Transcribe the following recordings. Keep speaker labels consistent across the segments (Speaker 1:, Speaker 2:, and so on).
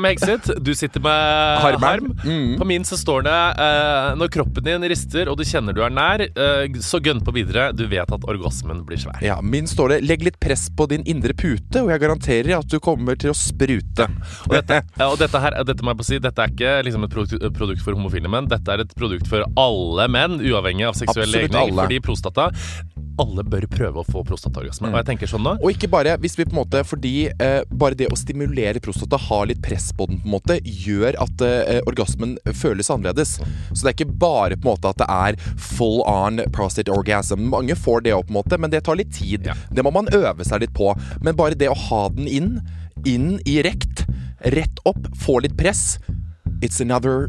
Speaker 1: med Exit, du sitter med
Speaker 2: Harm.
Speaker 1: harm.
Speaker 2: Mm.
Speaker 1: På min så står det eh, når kroppen din rister og du kjenner du er nær, eh, så gønn på videre. Du vet at orgasmen blir svær.
Speaker 2: Ja, min står det 'legg litt press på din indre pute', og jeg garanterer at du kommer til å sprute.
Speaker 1: Og dette, ja, og dette her, dette må jeg bare si, dette er ikke liksom et produkt, et produkt for homofile menn. Dette er et produkt for alle menn, uavhengig av seksuell
Speaker 2: Absolutt
Speaker 1: legning.
Speaker 2: alle.
Speaker 1: Fordi prostata Alle bør prøve å få prostataorgasme. Og jeg tenker sånn nå
Speaker 2: Og ikke bare hvis vi på en måte Fordi eh, bare det å stimulere prostata Har litt press på den på en måte Gjør at eh, orgasmen føles annerledes Så det er ikke bare på en måte at det er Full on prostate orgasm Mange får det også på en måte Men det tar litt tid
Speaker 1: Ja.
Speaker 2: Det må man øve seg litt på Men bare det å ha den inn Inn i rekt Rett opp Få litt press It's another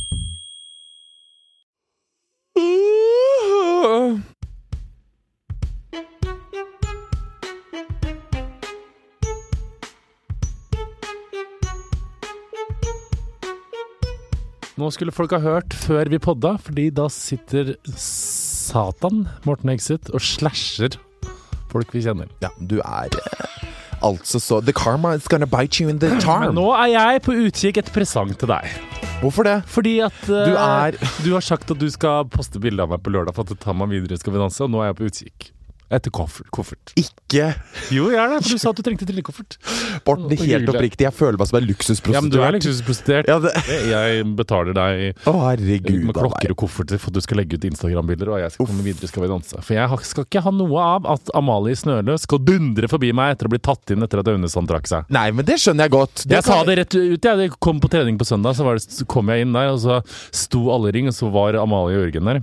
Speaker 1: Nå skulle folk ha hørt før vi podda, fordi da sitter Satan, Morten Exit, og slasher folk vi kjenner.
Speaker 2: Ja, du er eh, altså så The karma is gonna bite you in the
Speaker 1: Men
Speaker 2: charm.
Speaker 1: nå er jeg på utkikk etter presang til deg.
Speaker 2: Hvorfor det?
Speaker 1: Fordi at eh,
Speaker 2: Du er-
Speaker 1: du har sagt at du skal poste bilde av meg på lørdag for at du tar meg videre i Skal vi danse, og nå er jeg på utkikk. Etter koffert. koffert.
Speaker 2: Ikke
Speaker 1: Jo, jeg er det, for du sa at du trengte trillekoffert. Å,
Speaker 2: Borten, helt
Speaker 1: hyggelig.
Speaker 2: oppriktig. Jeg føler meg som en luksusprostituert.
Speaker 1: Ja, men du er liksom- luksusprostituert.
Speaker 2: Ja, det-
Speaker 1: Jeg betaler deg
Speaker 2: Å, herregud.
Speaker 1: med
Speaker 2: da,
Speaker 1: klokker
Speaker 2: nei.
Speaker 1: og kofferter for at du skal legge ut Instagram-bilder, og jeg skal komme videre i Skal vi danse. For jeg har- skal ikke ha noe av at Amalie Snølø skal dundre forbi meg etter å bli tatt inn etter at Aunesand trakk seg.
Speaker 2: Nei, men det skjønner jeg godt. Det
Speaker 1: Jeg sa
Speaker 2: kan-
Speaker 1: det rett ut. Jeg Det kom på trening på søndag, så, var det, så kom jeg inn der, og så sto alle i ring, og så var Amalie og Jørgen der.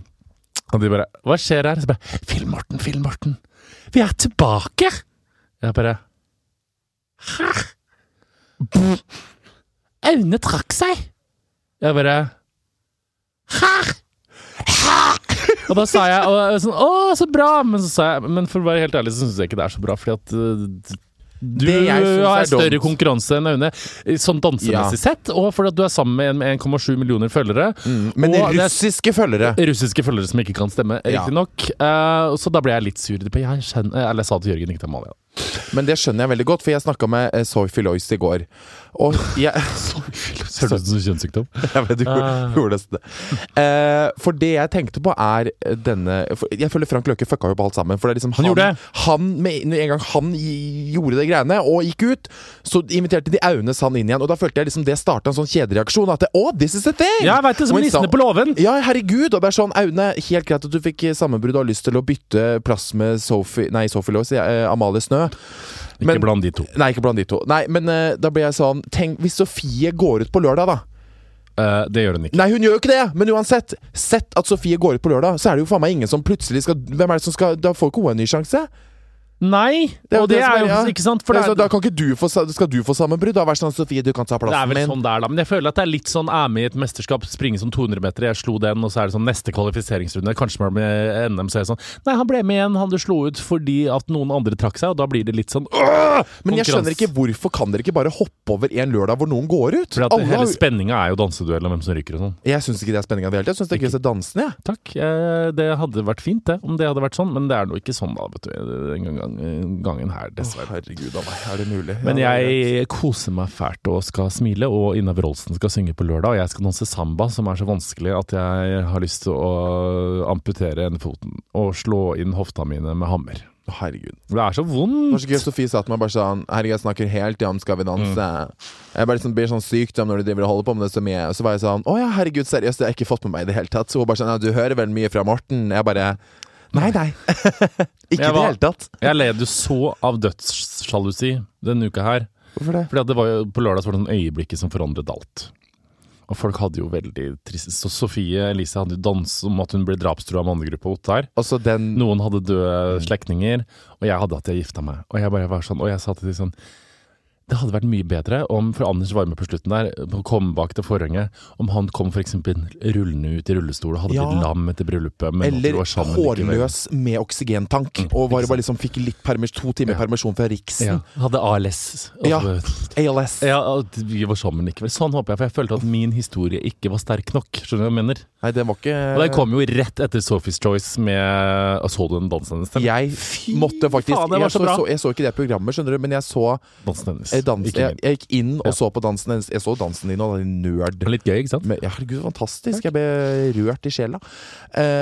Speaker 1: Og de bare 'Hva skjer her?' Så bare 'Film Morten, Film Morten, vi er tilbake!' Jeg bare Hæ? Aune trakk seg. Jeg bare Og da sa jeg, og jeg var sånn, å, så bra! Men, så sa jeg, men for å være helt ærlig, så syns jeg ikke det er så bra, fordi at uh, du
Speaker 2: Det jeg synes
Speaker 1: har
Speaker 2: er
Speaker 1: større
Speaker 2: dumt.
Speaker 1: konkurranse enn Aune, sånn
Speaker 2: Ja.
Speaker 1: dansemessig sett, og fordi at du er sammen med en med 1,7 millioner følgere.
Speaker 2: Mm, Men
Speaker 1: og det er
Speaker 2: russiske følgere
Speaker 1: Russiske følgere som ikke kan stemme,
Speaker 2: Ja.
Speaker 1: riktignok. Eh, så da ble jeg litt sur. på- Jeg, skjønner, eller jeg sa til Jørgen, ikke til Amalie.
Speaker 2: Men det skjønner jeg veldig godt, for jeg snakka med eh, Sophie Lois i går. Og jeg
Speaker 1: Høres ut som kjønnssykdom.
Speaker 2: Jeg vet, du
Speaker 1: Ah.
Speaker 2: gjorde- gjorde nesten det. Eh, for det jeg tenkte på, er eh, denne for Jeg føler Frank Løke fucka jo på alt sammen. For det er liksom han,
Speaker 1: gjorde det.
Speaker 2: han med, med en gang han i- gjorde de greiene og gikk ut, så inviterte de Aune Sand inn igjen. Og da følte jeg liksom det starta en sånn kjedereaksjon. At det, å, this is a thing!
Speaker 1: Ja, jeg vet det, som
Speaker 2: Og i stand-
Speaker 1: nissene på låven.
Speaker 2: Ja, herregud! Og det er sånn, Aune, helt greit at du fikk eh, sammenbrudd og har lyst til å bytte plass med Sophie Nei, Sophie Lois, eh, Amalie Snø. Men-
Speaker 3: Ikke blant de to.
Speaker 2: Nei, ikke blant de to. Nei, men eh, da ble jeg sånn Tenk hvis Sofie går ut på lørdag, da.
Speaker 3: Eh, det gjør hun ikke.
Speaker 2: Nei, hun gjør jo ikke det, men uansett. Sett at Sofie går ut på lørdag, så er det jo faen meg ingen som plutselig skal Hvem er det som skal Da får ikke hun en ny sjanse.
Speaker 1: Nei! og
Speaker 2: jo
Speaker 1: det,
Speaker 2: som
Speaker 1: er jo ikke sant. For
Speaker 2: Ja,
Speaker 1: det
Speaker 2: så
Speaker 1: er,
Speaker 2: da kan ikke du få, sa- skal du få sammenbrudd. Da vær sånn, Sofie, du kan ta
Speaker 1: det er
Speaker 2: plassen
Speaker 1: vel
Speaker 2: min.
Speaker 1: sånn det er, da. Men jeg føler at det er litt sånn er med i et mesterskap, springe som 200 meter, jeg slo den, og så er det sånn neste kvalifiseringsrunde, kanskje man med NM, så er det sånn Nei, han ble med igjen, han du slo ut fordi at noen andre trakk seg, og da blir det litt sånn «Åh!»
Speaker 2: Men jeg skjønner
Speaker 1: konkurranse.
Speaker 2: ikke hvorfor kan dere ikke bare hoppe over en lørdag hvor noen går ut?
Speaker 1: For at
Speaker 2: Alle har-
Speaker 1: hele spenninga er jo danseduell og hvem som ryker og sånn.
Speaker 2: jeg syns ikke det er spenning i det hele tatt. Jeg syns det er gøy å se dansene, jeg.
Speaker 1: Takk. eh, Det hadde vært fint, det, om det hadde vært sånn, men det er nå ikke sånn, da, vet du. Den gang- gangen her, dessverre.
Speaker 2: Herregud a meg, er det mulig?
Speaker 1: Men
Speaker 2: Ja, det er greit.
Speaker 1: jeg koser meg fælt og skal smile, og Innav Rolsen skal synge på lørdag, og jeg skal danse samba, som er så vanskelig at jeg har lyst til å amputere ene foten og slå inn hofta mine med hammer.
Speaker 2: Å, Herregud.
Speaker 1: Det er så
Speaker 2: Det var så gøy
Speaker 1: vondt!
Speaker 2: Sofie sa til meg bare sånn Herregud, jeg snakker helt ja, om Skal vi danse. Jeg bare liksom blir sånn sykt om når du driver og holder på med det så mye. Og så var jeg sånn Å ja, herregud, seriøst, det har jeg ikke fått med meg i det hele tatt. Så hun bare sånn Ja, du hører vel mye fra Morten? Jeg bare Nei, nei. ikke i det
Speaker 1: Jeg var-
Speaker 2: hele tatt.
Speaker 1: Jeg led jo så av dødssjalusi denne uka her.
Speaker 2: Hvorfor det?
Speaker 1: Fordi at det var jo, På lørdag så var det sånn øyeblikket som forandret alt. Og folk hadde jo veldig trist Så Sofie Elise hadde jo danset om at hun ble drapstrua av mannegruppa Ottar.
Speaker 2: Og så den
Speaker 1: Noen hadde døde slektninger, og jeg hadde at jeg gifta meg. Og jeg bare var sånn, og jeg sa til de sånn Det hadde vært mye bedre om for Anders var med på slutten der, på å komme bak til forhenget, om han kom f.eks. rullende ut i rullestol og hadde
Speaker 2: Ja.
Speaker 1: blitt lam etter bryllupet. Men at de
Speaker 2: Eller
Speaker 1: var sammen likevel.
Speaker 2: hårløs med oksygentank. Og var bare liksom fikk litt permis, to timer
Speaker 1: Ja.
Speaker 2: permisjon fra Riksen.
Speaker 1: Ja. Hadde ALS. Og-
Speaker 2: Ja. ALS.
Speaker 1: Ja, at vi var sammen likevel. Sånn håper jeg, for jeg følte at min historie ikke var sterk nok. Skjønner du hva jeg mener?
Speaker 2: Nei, den var ikke
Speaker 1: Og den kom jo rett etter Sophie's Choice med eh, Så du den dansen hennes? Den
Speaker 2: Jeg måtte faktisk
Speaker 1: faen, det var
Speaker 2: jeg,
Speaker 1: så
Speaker 2: så,
Speaker 1: bra.
Speaker 2: så, jeg så ikke det programmet, skjønner du, men jeg så
Speaker 1: dansen hennes.
Speaker 2: Jeg, Eh, dans,
Speaker 1: Ikke
Speaker 2: jeg,
Speaker 1: min.
Speaker 2: jeg gikk inn og
Speaker 1: Ja.
Speaker 2: så på dansen hennes. Jeg så dansen din, og da, din nerd.
Speaker 1: Litt gøy, ikke sant?
Speaker 2: Men, ja, herregud, fantastisk. Jeg ble rørt i sjela.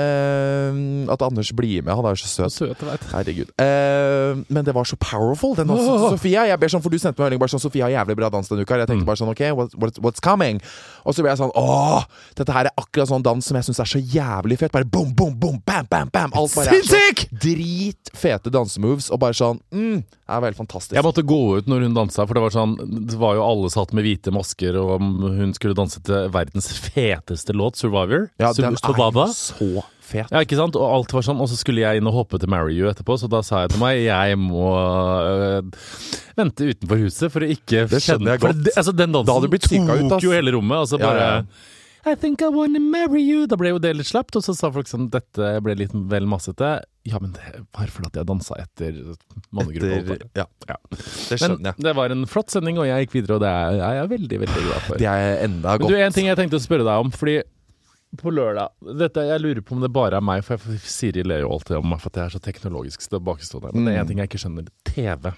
Speaker 2: Eh, at Anders blir med. Han er jo så søt.
Speaker 1: Søt, jeg vet.
Speaker 2: Herregud. Eh, men det var så powerful, den dansen til
Speaker 1: Åh. Mm.
Speaker 2: Sofia. Jeg ber sånn, for Du sendte meg en melding bare sånn 'Sofia har jævlig bra dans denne uka'. her." Jeg tenkte bare sånn 'OK, what, what, what's coming?' Og så ble jeg sånn 'Åh, dette her er akkurat sånn dans som jeg syns er så jævlig fet'. Bare boom, boom, boom, bam, bam, bam. Alt bare er så
Speaker 1: Sinnssyk!
Speaker 2: dritfete dansemoves, og bare sånn mm, Det er veldig fantastisk.
Speaker 1: Jeg måtte gå ut når hun dansa, for det var sånn Det var jo alle satt med hvite masker, og hun skulle danse til verdens feteste låt, 'Survivor'.
Speaker 2: ja,
Speaker 1: Sub-
Speaker 2: den er
Speaker 1: Survivor.
Speaker 2: jo så fet.
Speaker 1: Ja, ikke sant? Og alt var sånn, og så skulle jeg inn og hoppe til 'Marry You' etterpå, så da sa jeg til meg jeg må øh, vente utenfor huset for å ikke
Speaker 2: Det skjønner jeg
Speaker 1: for
Speaker 2: godt.
Speaker 1: det- altså, den dansen
Speaker 2: Da hadde du blitt syka ut, ass.
Speaker 1: tok jo hele rommet, og så
Speaker 2: Ja,
Speaker 1: bare
Speaker 2: ja, ja.
Speaker 1: I think I wanna marry you. Da ble jo det litt slapt, og så sa folk sånn Dette ble litt vel massete. Ja, men det var fordi at jeg dansa etter mannegruppa.
Speaker 2: Etter- ja.
Speaker 1: Ja.
Speaker 2: Det
Speaker 1: Men
Speaker 2: skjønner jeg.
Speaker 1: det var en flott sending, og jeg gikk videre, og det er jeg er veldig, veldig glad for.
Speaker 2: Det er enda
Speaker 1: Men
Speaker 2: godt.
Speaker 1: du, en ting jeg tenkte å spørre deg om, fordi på lørdag dette, Jeg lurer på om det bare er meg, for jeg, Siri ler jo alltid om meg for at jeg er så teknologisk tilbakestående. Men det
Speaker 2: Mm.
Speaker 1: er en ting jeg ikke skjønner. TV.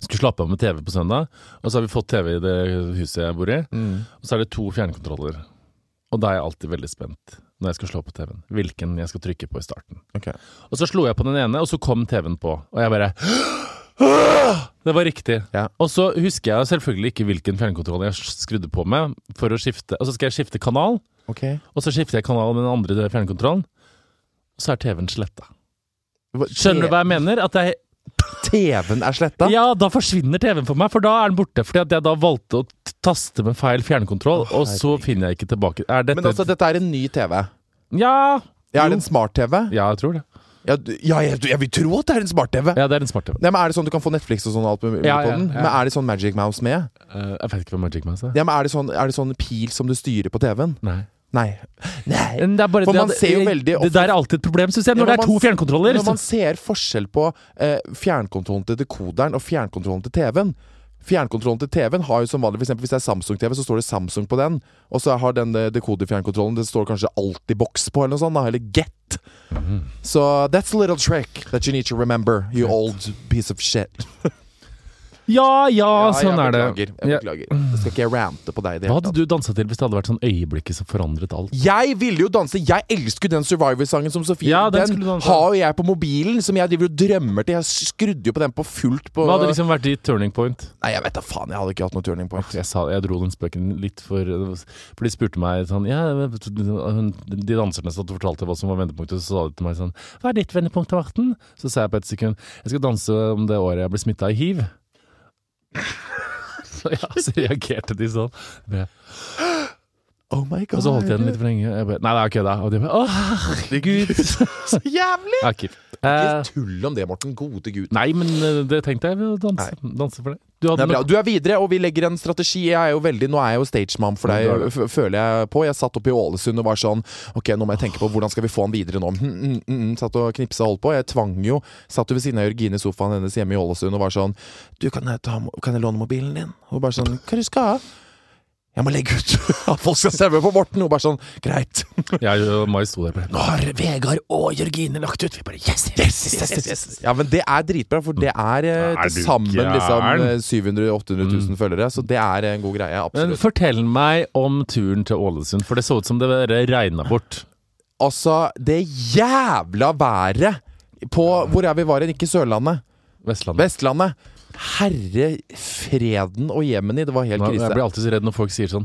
Speaker 1: Skulle slappe av med TV på søndag, og så har vi fått TV i det huset jeg bor i.
Speaker 2: Mm.
Speaker 1: Og så er det to fjernkontroller. Og da er jeg alltid veldig spent når jeg skal slå på TV-en. Hvilken jeg skal trykke på i starten.
Speaker 2: Ok.
Speaker 1: Og så slo jeg på den ene, og så kom TV-en på. Og jeg bare Det var riktig.
Speaker 2: Ja.
Speaker 1: Og så husker jeg selvfølgelig ikke hvilken fjernkontroll jeg skrudde på med. For å skifte Og så skal jeg skifte kanal,
Speaker 2: Ok.
Speaker 1: og så skifter jeg kanal med den andre fjernkontrollen. Og så er TV-en sletta.
Speaker 2: Hva-
Speaker 1: Skjønner du hva jeg mener? At jeg,
Speaker 2: TV-en er sletta?
Speaker 1: ja, da forsvinner TV-en for meg, for da er den borte. Fordi at jeg da valgte å t- taste med feil fjernkontroll, og så finner jeg ikke tilbake. Er dette
Speaker 2: Men altså, dette er en ny TV.
Speaker 1: ja,
Speaker 2: Ja, er det en smart-TV?
Speaker 1: ja, jeg tror det.
Speaker 2: Ja, du- ja jeg, jeg vil tro at det er en smart-TV.
Speaker 1: Ja, det er en smart TV.
Speaker 2: Nei, men Er det sånn du kan få Netflix og sånn alt mulig
Speaker 1: Ja,
Speaker 2: på
Speaker 1: ja,
Speaker 2: den?
Speaker 1: ja.
Speaker 2: Men Er det sånn Magic Mouse med?
Speaker 1: Eh, jeg vet ikke hva Magic Mouse er.
Speaker 2: Ja, men er det, sånn, er det sånn pil som du styrer på TV-en?
Speaker 1: Nei.
Speaker 2: Nei. Nei.
Speaker 1: Men det er bare,
Speaker 2: For
Speaker 1: det
Speaker 2: man
Speaker 1: at-
Speaker 2: ser jo veldig
Speaker 1: Det der er alltid et problem, syns jeg, når
Speaker 2: Ja, men
Speaker 1: det er to
Speaker 2: man-
Speaker 1: fjernkontroller.
Speaker 2: Når man
Speaker 1: så-
Speaker 2: ser forskjell på eh, fjernkontrollen til dekoderen og fjernkontrollen til TV-en Fjernkontrollen til TV-en har jo som vanlig, for eksempel hvis det er Samsung-TV, så står det Samsung på den. Og så har den eh, dekoderfjernkontrollen, det står kanskje alltid boks på, eller noe sånt, da, eller Get.
Speaker 1: Mhm.
Speaker 2: Så that's a little trick that you need to remember, you old piece of shit.
Speaker 1: Ja, ja,
Speaker 2: Ja,
Speaker 1: sånn
Speaker 2: jeg
Speaker 1: er det.
Speaker 2: beklager,
Speaker 1: Ja.
Speaker 2: Jeg beklager. Skal ikke jeg rante på deg i det
Speaker 1: Hva
Speaker 2: hele
Speaker 1: hadde
Speaker 2: tatt?
Speaker 1: du dansa til hvis det hadde vært sånn øyeblikket som forandret alt?
Speaker 2: Jeg ville jo danse. Jeg elsker den Survivor-sangen som Sofie
Speaker 1: Ja, den
Speaker 2: den
Speaker 1: skulle du danse.
Speaker 2: har jo jeg på mobilen, som jeg driver og drømmer til. Jeg skrudde jo på den på fullt på
Speaker 1: Hva hadde liksom vært ditt turning point?
Speaker 2: Nei, jeg vet da faen. Jeg hadde ikke hatt noe turning point.
Speaker 1: Jeg, sa, jeg dro den spøken litt for For de spurte meg sånn ja, hun- De danserne som fortalte hva som var vendepunktet, så sa de til meg sånn Hva er ditt vendepunkt, Morten? Så sa jeg på et sekund Jeg skal danse om det året jeg ble smitta i hiv. Så, ja, så reagerte de sånn. Jeg-
Speaker 2: Oh my god.
Speaker 1: Og så holdt jeg den litt for lenge. Jeg bare, Nei, det er kødda. Og de bare Å, herregud.
Speaker 2: Så
Speaker 1: Det
Speaker 2: jævlig!
Speaker 1: er ikke- Eh,
Speaker 2: Ikke tull om det, Morten. Gode gud.
Speaker 1: Nei, men eh, det tenkte jeg. Å danse, danse for det. Du hadde
Speaker 2: Det er bra.
Speaker 1: nok-
Speaker 2: Du er videre, og vi legger en strategi. Jeg er jo veldig, Nå er jeg jo stagemom for
Speaker 1: Ja, du
Speaker 2: deg,
Speaker 1: er
Speaker 2: f- føler jeg på. Jeg satt oppe i Ålesund og var sånn Ok, nå må jeg tenke på hvordan skal vi få han videre nå. Mm, mm, mm, mm. Satt og knipsa og holdt på. Jeg tvang jo Satt jo ved siden av Jørgine i sofaen hennes hjemme i Ålesund og var sånn Du, kan jeg, ta, mo- kan jeg låne mobilen din? Og bare sånn Hva er det du skal ha? Jeg må legge ut at folk skal stemme på Morten! Og bare sånn Greit.
Speaker 1: Jeg og Mai sto der bare
Speaker 2: Nå har Vegard og Jørgine lagt ut. Vi bare yes, yes, yes, yes, yes, yes. Ja, men det er dritbra, for det er eh,
Speaker 1: Er
Speaker 2: til
Speaker 1: du
Speaker 2: sammen liksom,
Speaker 1: gæren? Mm.
Speaker 2: eh, 700 000-800 000 følgere, så det er en god greie.
Speaker 1: Men
Speaker 2: Absolutt.
Speaker 1: fortell meg om turen til Ålesund, for det så ut som det regna bort.
Speaker 2: Altså, det jævla været på Hvor er vi var hen? Ikke Sørlandet.
Speaker 1: Vestlandet.
Speaker 2: Vestlandet. Herre freden og Jemeni, det var helt
Speaker 1: Nå, jeg blir
Speaker 2: krise.
Speaker 1: alltid så redd når folk sier sånn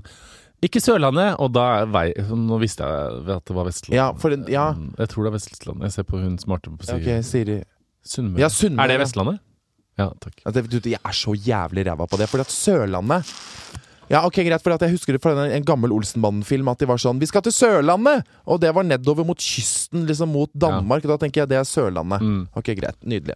Speaker 1: Ikke Sørlandet, og da er vei Nå visste jeg at det var Vestlandet.
Speaker 2: Ja, for en- ja.
Speaker 1: Mm, Jeg tror det er Vestlandet. Jeg ser på hun smarte på siden.
Speaker 2: Ok, Siri.
Speaker 1: Sunnmøre.
Speaker 2: Ja, Sunnmøre.
Speaker 1: Er det Vestlandet? Ja, takk.
Speaker 2: At det- du, Jeg er så jævlig ræva på det. Fordi at Sørlandet Ja, ok, greit, for at jeg husker det fra en, en gammel Olsenbanden-film at de var sånn 'Vi skal til Sørlandet!' Og det var nedover mot kysten, liksom mot Danmark. Da tenker jeg det er Sørlandet.
Speaker 1: Mm.
Speaker 2: Ok, greit. Nydelig.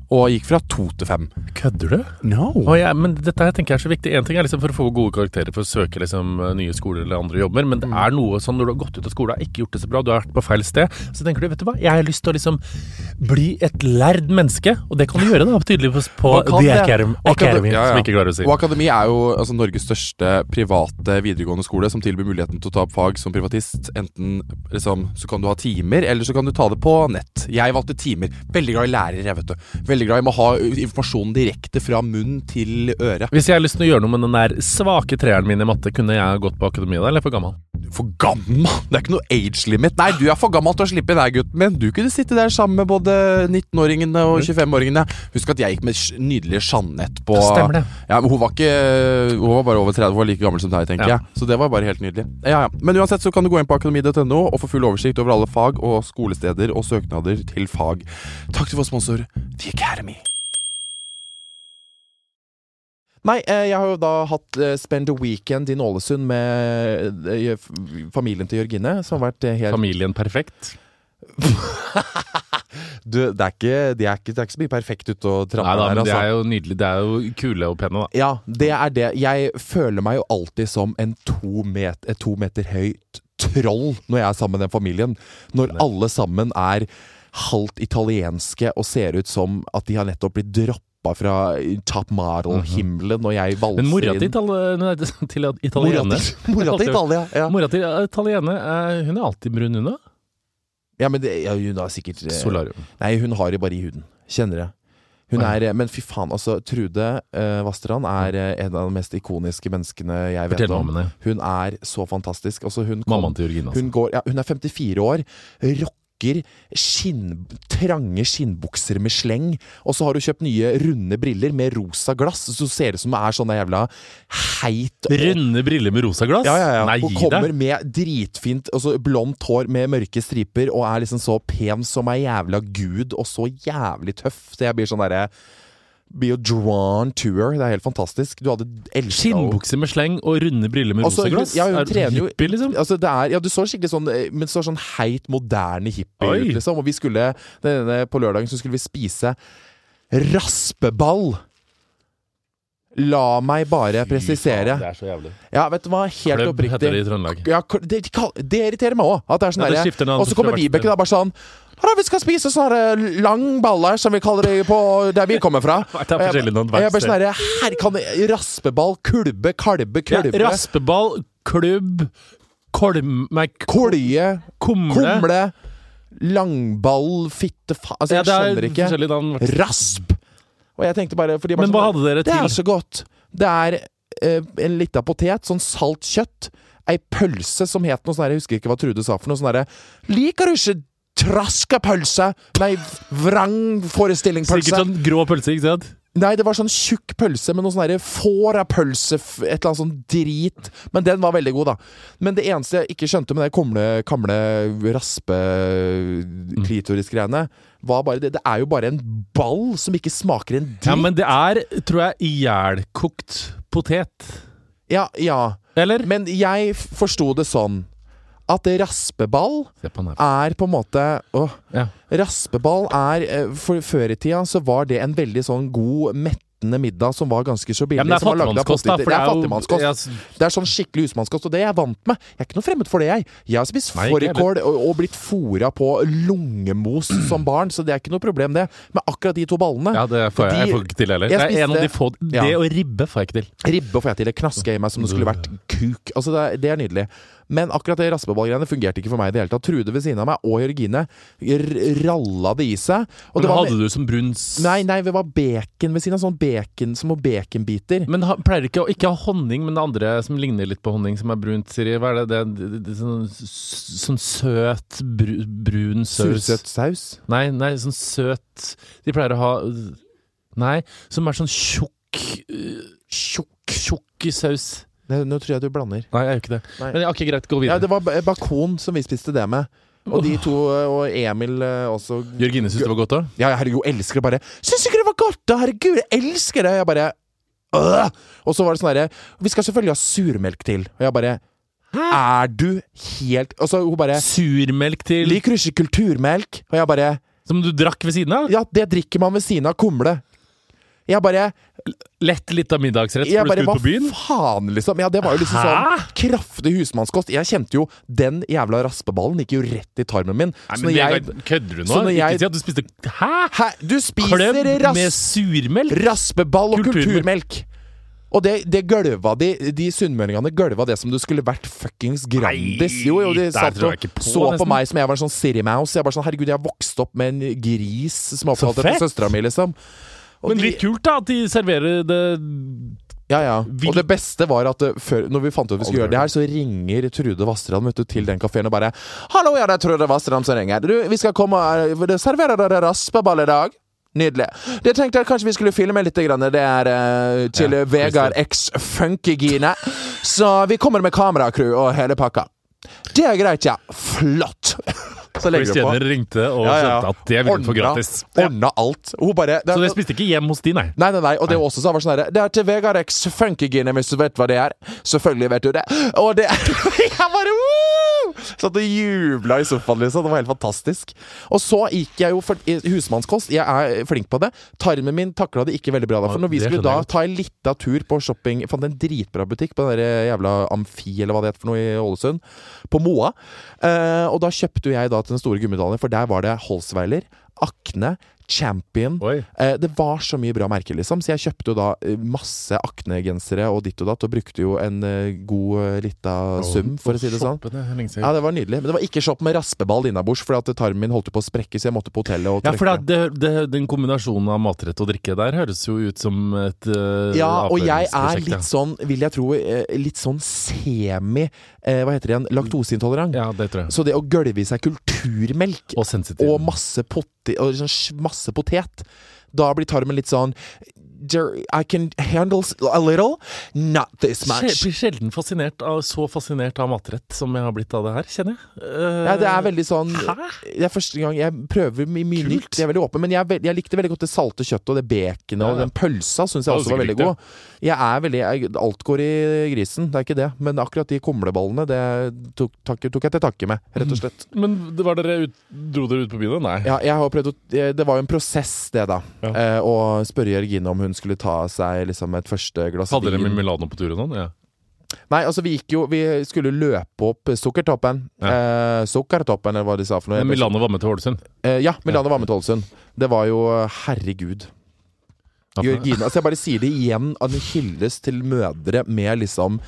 Speaker 4: og gikk fra to til fem.
Speaker 1: Kødder du?
Speaker 4: No.
Speaker 1: Å, ja, men dette her tenker jeg er så viktig. En ting er liksom for å få gode karakterer for å søke liksom, nye skoler eller andre jobber, men det
Speaker 2: Mm.
Speaker 1: er noe sånn når du har gått ut av skolen og ikke gjort det så bra, du har vært på feil sted, så tenker du vet du hva, jeg har lyst til å liksom bli et lærd menneske, og det kan du gjøre da, tydeligvis på
Speaker 2: Man kan
Speaker 1: The
Speaker 2: det.
Speaker 1: Academy,
Speaker 2: Og kan
Speaker 1: Academy
Speaker 4: det- ja, ja.
Speaker 1: som vi ikke klarer å si.
Speaker 4: Og Akademi er jo altså, Norges største private videregående skole som tilbyr muligheten til å ta opp fag som privatist. Enten liksom, så kan du ha timer, eller så kan du ta det på nett. Jeg valgte timer. Veldig glad i lærere, jeg, vet du. Veldig glad i å ha informasjonen direkte fra munn til øre.
Speaker 1: Hvis jeg har lyst til å gjøre noe med den der svake treeren min i matte, kunne jeg ha gått på akademiet da, eller er jeg for gammel?
Speaker 4: For gammel! Det er ikke noe age limit. Nei, du er for gammel til å slippe deg, gutten min. Du kunne sitte der sammen med både 19-åringene
Speaker 2: Mm.
Speaker 4: og 25-åringene. Husk at jeg gikk med sj- nydelige Jeanette på
Speaker 1: Stemmer det.
Speaker 4: Ja, men hun var ikke Hun var bare over 30, hun var like gammel som deg, tenker
Speaker 1: Ja.
Speaker 4: jeg. Så det var bare helt nydelig. Ja, ja. Men uansett så kan du gå inn på akademi.no og få full oversikt over alle fag og skolesteder og søknader til fag. Takk til vår sponsor The Academy.
Speaker 2: Nei, eh, jeg har jo da hatt eh, Spend a Weekend in Ålesund med eh, f- familien til Jørgine, som har vært eh, helt
Speaker 1: Familien perfekt?
Speaker 2: du, det, er ikke, det, er ikke, det er ikke så mye perfekt ute og
Speaker 1: Nei
Speaker 2: trampe
Speaker 1: da,
Speaker 2: der,
Speaker 1: men det
Speaker 2: altså.
Speaker 1: er jo nydelig, det er jo kule og pene da.
Speaker 2: Ja, det er det. Jeg føler meg jo alltid som en to, met, et to meter høyt troll når jeg er sammen med den familien. Når alle sammen er halvt italienske og ser ut som at de har nettopp blitt droppa fra Top Model-himmelen, og jeg valser
Speaker 1: Mhm. Men mora til,
Speaker 2: inn
Speaker 1: itali- nei, til
Speaker 2: Mora
Speaker 1: italiener,
Speaker 2: til- Mora til Italia! Ja,
Speaker 1: mora til italiener, eh, hun er alltid brun hun da.
Speaker 2: ja men det, ja, hun har sikkert eh,
Speaker 1: Solarium.
Speaker 2: Nei, hun har det bare i huden. Kjenner det. Hun
Speaker 1: Nei.
Speaker 2: er, men fy faen, altså. Trude eh, Vasterland er eh, en av de mest ikoniske menneskene jeg vet
Speaker 1: Fortell meg
Speaker 2: om.
Speaker 1: om henne.
Speaker 2: Hun er så fantastisk. Altså, hun, kom,
Speaker 1: Mammaen til Jørgine, altså.
Speaker 2: hun, går, ja, hun er 54 år, rocker skinn, trange skinnbukser med sleng, og så har hun kjøpt nye runde briller med rosa glass, så hun ser ut som hun er sånn jævla heit og-
Speaker 1: Runde briller med rosa glass?
Speaker 2: ja, ja, ja.
Speaker 1: Nei,
Speaker 2: hun
Speaker 1: gi
Speaker 2: kommer
Speaker 1: deg.
Speaker 2: med dritfint altså blondt hår med mørke striper og er liksom så pen som ei jævla gud og så jævlig tøff. Så jeg blir sånn derre Blir jo drawn to her. Det er helt fantastisk. Du hadde elska
Speaker 1: Skinnbukser med sleng og runde briller med
Speaker 2: Altså,
Speaker 1: rosa
Speaker 2: hun-
Speaker 1: glass?
Speaker 2: ja, hun
Speaker 1: Er du
Speaker 2: trener jo-
Speaker 1: hippie, liksom?
Speaker 2: Altså, det er, ja, du så skikkelig sånn eh, Men så sånn heit, moderne hippie
Speaker 1: Oi.
Speaker 2: ut, liksom. Og vi skulle denne, På lørdagen så skulle vi spise raspeball. La meg bare presisere.
Speaker 1: Det er så jævlig.
Speaker 2: Ja, vet du hva, helt
Speaker 1: Klubb heter det i
Speaker 2: oppriktig
Speaker 1: Trøndelag.
Speaker 2: ja, kl- det, de kall- det irriterer meg òg. At det er sånn
Speaker 1: Ja, det
Speaker 2: derre-
Speaker 1: skifter navn
Speaker 2: Og
Speaker 1: på
Speaker 2: så kommer
Speaker 1: flere
Speaker 2: Vibeke da bare sånn «Ja, da, vi skal spise sånne lang baller, som vi kaller det på der vi kommer fra.
Speaker 1: Det er forskjellig noen
Speaker 2: Og jeg bare
Speaker 1: verksted.
Speaker 2: sånn herre Her kan jeg- raspeball, kulbe, kalbe,
Speaker 1: Ja,
Speaker 2: kulbe,
Speaker 1: raspeball, klubb, kolm... Nei,
Speaker 2: kolje,
Speaker 1: kumle.
Speaker 2: kumle, langball, fitte fa... Altså,
Speaker 1: Ja,
Speaker 2: jeg
Speaker 1: det er
Speaker 2: skjønner ikke.
Speaker 1: forskjellig navn.
Speaker 2: Rasp! Og jeg tenkte bare fordi jeg bare
Speaker 1: Men
Speaker 2: sånn-
Speaker 1: hva hadde dere
Speaker 2: Det er
Speaker 1: til?
Speaker 2: så godt. Det er eh, en lita potet, sånn salt kjøtt, ei pølse som het noe sånn her, jeg husker ikke hva Trude sa for noe sånn herre Liker du ikke traska pølse? Nei, vrang
Speaker 1: Sikkert
Speaker 2: forestillingpølse.
Speaker 1: sånn grå pølse, ikke sant?
Speaker 2: Nei, det var sånn tjukk pølse med noe sånn herre fårapølse, f- et eller annet sånn drit. Men den var veldig god, da. Men det eneste jeg ikke skjønte med det kumle, kamle
Speaker 1: Mm.
Speaker 2: raspe-klitoris-greiene, var bare det. Det er jo bare en ball som ikke smaker en
Speaker 1: Ja,
Speaker 2: dritt.
Speaker 1: men det er, tror jeg, ihjelkokt potet.
Speaker 2: Ja, ja.
Speaker 1: Eller?
Speaker 2: Men jeg f- forsto det sånn at raspeball
Speaker 1: Se på han her.
Speaker 2: er på en måte åh,
Speaker 1: Ja.
Speaker 2: Raspeball er eh, for, Før i tida så var det en veldig sånn god, mettende middag som var ganske så billig.
Speaker 1: Ja, men det er
Speaker 2: som var lagd av
Speaker 1: fattigmannskost, da.
Speaker 2: poteter.
Speaker 1: for
Speaker 2: Det er
Speaker 1: jo-
Speaker 2: fattigmannskost.
Speaker 1: Ja, s-
Speaker 2: Det er sånn skikkelig husmannskost, og det er jeg vant med. Jeg er ikke noe fremmed for det, jeg. Jeg har spist
Speaker 1: Nei, ikke jeg
Speaker 2: fårikål og, og blitt fôra på lungemos som barn, så det er ikke noe problem, det. Men akkurat de to ballene
Speaker 1: ja, det får jeg, jeg
Speaker 2: Fordi
Speaker 1: får ikke til heller.
Speaker 2: jeg
Speaker 1: Det er en av de
Speaker 2: spiste-
Speaker 1: få
Speaker 2: Ja.
Speaker 1: Det og ribbe får jeg ikke til.
Speaker 2: Ribbe får jeg til. Det knasker jeg i meg som det skulle vært kuk. Altså, det er, det er nydelig. Men akkurat det raspeballgreiene fungerte ikke for meg i det hele tatt. Trude ved siden av meg og Jørgine r- ralla det i seg. Og
Speaker 1: Men
Speaker 2: det var
Speaker 1: hadde du som bruns
Speaker 2: Nei, nei, det var bacon ved siden av. Sånn bacon, små baconbiter.
Speaker 1: Men ha, pleier ikke å ikke ha honning, men det andre som ligner litt på honning, som er brunt, Siri. Hva er det? det, det, det, sånn, s- sånn søt, bru, brun saus.
Speaker 2: Sursøt saus.
Speaker 1: Nei, nei, sånn søt De pleier å ha Nei, som er sånn tjukk øh, Tjukk, tjukk saus.
Speaker 2: Nå nå tror jeg du blander.
Speaker 1: Nei, jeg gjør ikke det.
Speaker 2: Nei.
Speaker 1: Men ok, greit, gå
Speaker 2: Ja,
Speaker 1: videre.
Speaker 2: det var ba- bakon som vi spiste det med. Og de to, eh, og Emil eh, også
Speaker 1: Jørgine syns det var godt òg?
Speaker 2: Ja, herregud, elsker det bare. Syns ikke det var godt, da! Herregud, jeg elsker det! Jeg bare øh! Og så var det sånn herre Vi skal selvfølgelig ha surmelk til. Og jeg bare Er du helt Og så hun bare
Speaker 1: Surmelk til
Speaker 2: Liker du ikke kulturmelk? Og jeg bare
Speaker 1: Som du drakk ved siden av?
Speaker 2: Ja, det drikker man ved siden av kumle. Jeg bare
Speaker 1: Lett litt av middagsrett
Speaker 2: jeg
Speaker 1: før du skulle
Speaker 2: bare, Hva
Speaker 1: ut på byen?
Speaker 2: faen, liksom? Ja, det var jo liksom sånn kraftig husmannskost. Jeg kjente jo Den jævla raspeballen gikk jo rett i tarmen min.
Speaker 1: Nei,
Speaker 2: så
Speaker 1: men
Speaker 2: når
Speaker 1: det,
Speaker 2: jeg
Speaker 1: Kødder du nå?
Speaker 2: så når jeg-
Speaker 1: Ikke si at du spiste Hæ?
Speaker 2: Hæ? Du
Speaker 1: Klem
Speaker 2: spiser
Speaker 1: med
Speaker 2: ras...
Speaker 1: surmelk?
Speaker 2: Raspeball og
Speaker 1: Kulturmelk.
Speaker 2: kulturmelk. Og det, det gølva de De sunnmøringene gølva det som det skulle vært fuckings Grandis. Jo, jo, de
Speaker 1: der
Speaker 2: satt
Speaker 1: tror
Speaker 2: og
Speaker 1: jeg ikke på,
Speaker 2: så på
Speaker 1: nesten.
Speaker 2: meg som jeg var en sånn City Mouse. Jeg bare sånn, Herregud, jeg har vokst opp med en gris som har
Speaker 1: Så
Speaker 2: oppkalt etter
Speaker 1: fett!
Speaker 2: søstera mi, liksom. Og
Speaker 1: Men
Speaker 2: de-
Speaker 1: litt kult, da, at de serverer det
Speaker 2: Ja, ja.
Speaker 1: Vil-
Speaker 2: Og det beste var at eh, før, når vi fant ut vi skulle gjøre det her, så ringer Trude Vassdrand vet du, til den kafeen og bare 'Hallo, ja, det er Trude Vassdrand som ringer. Du, vi skal komme og eh, servere dere raspeball i dag.' Nydelig. Det tenkte jeg kanskje vi skulle filme litt. Grann. Det er eh, til
Speaker 1: Ja,
Speaker 2: Vegard X Funkygine. Så vi kommer med kameracrew og hele pakka. Det er greit, ja. Flott. Så
Speaker 1: Chris
Speaker 2: legger du på.
Speaker 1: Jenner ringte og
Speaker 2: Ja, ja.
Speaker 1: skjønte at det ville hun få
Speaker 2: Ordna-
Speaker 1: gratis.
Speaker 2: Ordna alt. Hun bare det er-
Speaker 1: Så dere spiste ikke hjem hos de, nei?
Speaker 2: Nei, nei, nei, og det var også så var det sånn her, Det er til Vegard X Funkygine, hvis du vet hva det er. Selvfølgelig vet du det. Og det Jeg bare woo! Satt og jubla i sofaen, liksom. Det var helt fantastisk. Og så gikk jeg jo for i husmannskost. Jeg er flink på det. Tarmen min takla det ikke veldig bra. da For når vi
Speaker 1: Det
Speaker 2: skulle
Speaker 1: skjønner
Speaker 2: da
Speaker 1: jeg godt.
Speaker 2: ta en lita tur på shopping Fant en dritbra butikk på den der jævla Amfi, eller hva det het for noe i Ålesund. På Moa. Eh, og da kjøpte jo jeg da til den store gummidalen, for der var det Holsweiler, Akne, Champion
Speaker 1: Oi.
Speaker 2: Eh, det var så mye bra merker, liksom. Så jeg kjøpte jo da eh, masse Akne-gensere og ditt og datt, og brukte jo en eh, god eh, lita sum, for å si det sånn. Ja,
Speaker 1: Ja,
Speaker 2: det var nydelig. Men det var ikke shopp med raspeball innabords, for tarmen min holdt jo på å sprekke, så jeg måtte på hotellet og
Speaker 1: for det, det, den kombinasjonen av matrett og drikke der høres jo ut som et uh,
Speaker 2: Ja, og jeg er
Speaker 1: avføringsprosjekt, ja.
Speaker 2: litt sånn, vil jeg tro, eh, litt sånn semi eh, Hva heter det igjen? Laktoseintolerant.
Speaker 1: Ja, det tror jeg.
Speaker 2: Så det å gølve i seg kulturmelk
Speaker 1: Og sensitiv.
Speaker 2: og masse, potet, og sånn sj- masse potet. Da blir tarmen litt sånn "There- I can handle s- a little, not this
Speaker 1: Jeg
Speaker 2: much.
Speaker 1: blir sjelden fascinert av, så fascinert av matrett som jeg har blitt av det her, kjenner jeg. Eh,
Speaker 2: Ja, det er veldig sånn
Speaker 1: Hæ?
Speaker 2: Det er første gang jeg prøver my- mye
Speaker 1: Kult.
Speaker 2: nytt. Jeg er veldig åpen, men jeg, er veld- jeg likte veldig godt det salte kjøttet og det baconet
Speaker 1: Ja,
Speaker 2: og
Speaker 1: ja.
Speaker 2: den pølsa. Synes jeg
Speaker 1: Ja,
Speaker 2: også var
Speaker 1: sikkert
Speaker 2: veldig god. Jeg er veldig jeg, Alt går i grisen, det er ikke det. Men akkurat de kumleballene, det tok, takke- tok jeg til takke med, rett og slett.
Speaker 1: Men det var dere ut, dro dere ut på byen? da? Nei.
Speaker 2: Ja, jeg har prøvd å, eh, det var jo en prosess, det, da.
Speaker 1: Ja.
Speaker 2: Eh, å spørre Jørgine om hun hun skulle ta seg liksom et første glass
Speaker 1: Hadde dere
Speaker 2: vin.
Speaker 1: med Milano på turen nå? Ja.
Speaker 2: Nei, altså vi gikk jo Vi skulle løpe opp Sukkertoppen. Eh, sukkertoppen, eller hva de sa for noe.
Speaker 1: Men Milano var med til Ålesund.
Speaker 2: Eh, ja, Milano var med til Ålesund. Det var jo Herregud. Jørgine Altså, jeg bare sier det igjen, at en hyllest til mødre med liksom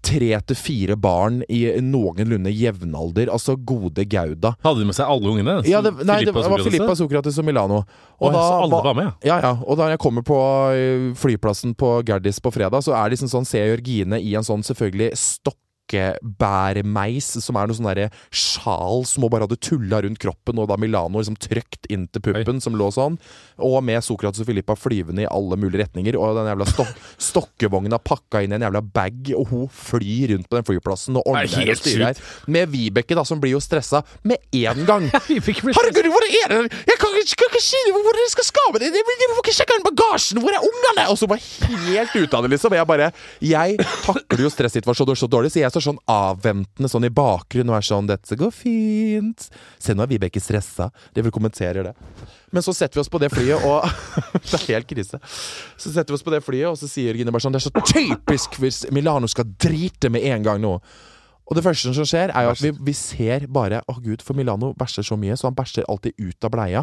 Speaker 2: tre til fire barn i noenlunde jevnalder. Altså gode Gauda.
Speaker 1: Hadde de med seg alle ungene?
Speaker 2: Ja, det, nei, det
Speaker 1: Filippa
Speaker 2: var
Speaker 1: Sokrates,
Speaker 2: Filippa, Sokrates og Milano.
Speaker 1: Å, ja, så alle var med, ja.
Speaker 2: Ja, ja. Og da jeg kommer på ø, flyplassen på Gardis på fredag, så er det liksom sånn, ser jeg Jørgine i en sånn selvfølgelig stokkebærmeis, som er noe sånn derre sjal som hun bare hadde tulla rundt kroppen, og da Milano liksom trøkt inn til puppen, som lå sånn. Og med Sokrates og Filippa flyvende i alle mulige retninger, og den jævla stok stokkevogna pakka inn i en jævla bag, og hun flyr rundt på den flyplassen og
Speaker 1: Det er
Speaker 2: ordner
Speaker 1: helt
Speaker 2: og styrer her. Med Vibeke, da, som blir jo stressa med én gang.
Speaker 1: Vi fikk bli-
Speaker 2: Herregud, hvor er det? Jeg kan ikke, kan ikke si hvor dere skal skape det! Dere dere får ikke sjekke inn bagasjen! Hvor er ungene? Og så bare helt ute av det, liksom. Jeg bare Jeg takler jo stressituasjoner så dårlig, så jeg står sånn avventende sånn i bakgrunnen og er sånn 'Dette går fint'. Se, nå er Vibeke stressa. Dere kommenterer det. Men så setter vi oss på det flyet, og Det er helt krise. Så setter vi oss på det flyet, og så sier Gine bare sånn Det er så typisk hvis Milano skal drite med en gang nå. Og det første som skjer, er jo at vi, vi ser bare Å gud, for Milano bæsjer så mye, så han bæsjer alltid ut av bleia.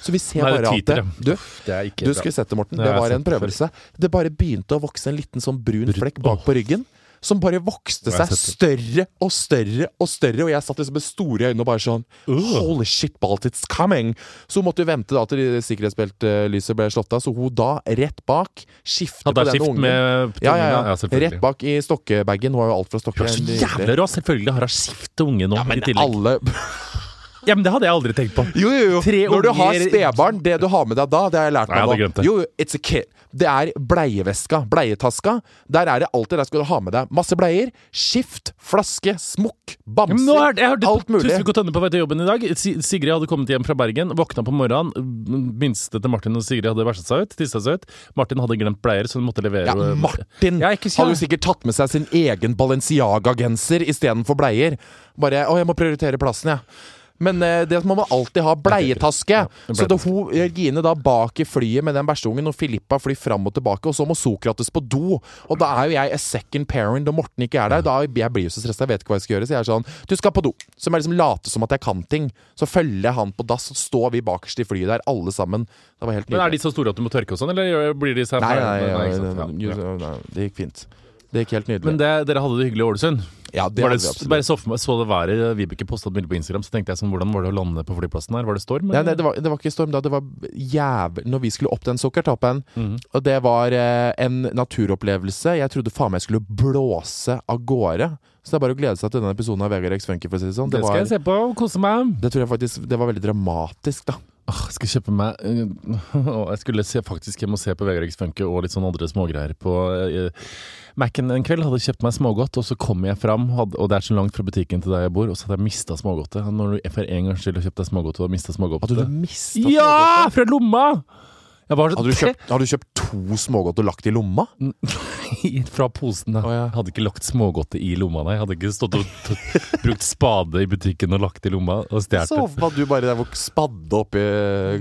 Speaker 2: Så vi ser
Speaker 1: Nei, det
Speaker 2: bare at
Speaker 1: tyter,
Speaker 2: det, Du,
Speaker 1: Det er ikke
Speaker 2: du skulle sett det, Morten.
Speaker 1: Ja,
Speaker 2: Det
Speaker 1: jeg har
Speaker 2: var en
Speaker 1: sett det
Speaker 2: prøvelse. Det bare begynte å vokse en liten sånn brun flekk bak på ryggen. Som bare vokste
Speaker 1: Ja, jeg
Speaker 2: seg
Speaker 1: har
Speaker 2: større og større og større. Og jeg satt liksom med store øyne og bare sånn Holy shit, Balt, it's coming! Så hun måtte jo vente da til de- sikkerhetsbeltlyset ble slått av. Så hun da, rett bak,
Speaker 1: Hadde
Speaker 2: skifter på
Speaker 1: jeg
Speaker 2: den
Speaker 1: skift
Speaker 2: ungen.
Speaker 1: med
Speaker 2: ja, ja, ja.
Speaker 1: selvfølgelig.
Speaker 2: Rett bak i stokkebagen. Hun har jo alt fra
Speaker 1: Du
Speaker 2: stokker.
Speaker 1: er så
Speaker 2: Nydelig.
Speaker 1: jævla rå! Selvfølgelig har hun skift til unge nå. i tillegg.
Speaker 2: Alle
Speaker 1: Ja, men Det hadde jeg aldri tenkt på.
Speaker 2: Jo, jo, jo.
Speaker 1: Tre
Speaker 2: Når du
Speaker 1: unger-
Speaker 2: har spedbarn, det du har med deg da, det har jeg lært
Speaker 1: Nei, jeg hadde
Speaker 2: meg
Speaker 1: glemt det.
Speaker 2: Jo, jo, it's a kid. Det er bleieveska, bleietaska. Der er det alltid der skal du ha med deg. Masse bleier, skift, flaske, smokk, bamser.
Speaker 1: Nå er, det- jeg hørte
Speaker 2: alt
Speaker 1: på
Speaker 2: mulig.
Speaker 1: Tusvik og Tønne på vei til jobben i dag. Si- Sigrid hadde kommet hjem fra Bergen, våkna på morgenen. m- Minste til Martin og Sigrid hadde bæsjet seg ut. Tissa seg ut. Martin hadde glemt bleier, så hun måtte levere
Speaker 2: Ja, Martin
Speaker 1: Ja, ikke si
Speaker 2: hadde jo
Speaker 1: det.
Speaker 2: sikkert tatt med seg sin egen Balenciaga-genser istedenfor bleier. Bare 'Å, jeg må prioritere plassen, jeg'. Men eh, det må man alltid ha. Bleietaske. så da hun, Regine da bak i flyet med den bæsjeungen, og Filippa flyr fram og tilbake, og så må Sokrates på do. Og da er jo jeg a second parent, og Morten ikke er der. Da jeg blir jo så stressa, jeg vet ikke hva jeg skal gjøre. Så jeg er sånn Du skal på do. Så må jeg liksom late som at jeg kan ting. Så følger jeg han på dass, og står vi bakerst i flyet der, alle sammen. Det var helt
Speaker 1: Men Er de så store at du må tørke og sånn, eller blir de seg
Speaker 2: Nei, nei,
Speaker 1: Nei,
Speaker 2: nei,
Speaker 1: ikke sant?
Speaker 2: nei,
Speaker 1: Ja.
Speaker 2: jo, nei, det gikk fint. Det gikk helt nydelig.
Speaker 1: Men det, dere hadde det hyggelig i Ålesund?
Speaker 2: ja, det
Speaker 1: Var
Speaker 2: hadde
Speaker 1: det,
Speaker 2: vi absolutt.
Speaker 1: bare så for meg, så det været Vibeke posta et bilde på Instagram, så tenkte jeg sånn Hvordan var det å lande på flyplassen her? Var det storm?
Speaker 2: Nei,
Speaker 1: eller?
Speaker 2: nei, det, var, det var ikke storm da, det var jævlig Når vi skulle opp den sukkertoppen,
Speaker 1: Mhm.
Speaker 2: og det var eh, en naturopplevelse Jeg trodde faen meg jeg skulle blåse av gårde. Så det er bare å glede seg til denne episoden av VG Rex Funky, for å si det sånn. Det,
Speaker 1: det skal jeg
Speaker 2: var,
Speaker 1: se på og kose meg.
Speaker 2: det tror jeg faktisk Det var veldig dramatisk, da.
Speaker 1: Åh, Jeg skal kjøpe meg eh, åh, Jeg skulle se, faktisk hjem og se på Vegard X Funke og litt sånn andre smågreier på eh, Mac-en en kveld. Hadde kjøpt meg smågodt, og så kom jeg fram, hadde, og det er så langt fra butikken til der jeg bor, og så hadde jeg mista smågodtet. Når du for en gangs skyld har kjøpt deg smågodt og mista
Speaker 2: Hadde
Speaker 1: smågodtet
Speaker 2: du mistet
Speaker 1: Ja! Fra lomma! Jeg var så
Speaker 2: Hadde du,
Speaker 1: tre-
Speaker 2: kjøpt, hadde du kjøpt to smågodt og lagt i lomma?
Speaker 1: Mm. fra posen. Da.
Speaker 2: ja.
Speaker 1: Hadde ikke lagt smågodtet i lomma, nei. Hadde ikke stått og t- brukt spade i butikken og lagt i lomma og
Speaker 2: Så
Speaker 1: stjålet det.
Speaker 2: var du bare der hvor spadde oppi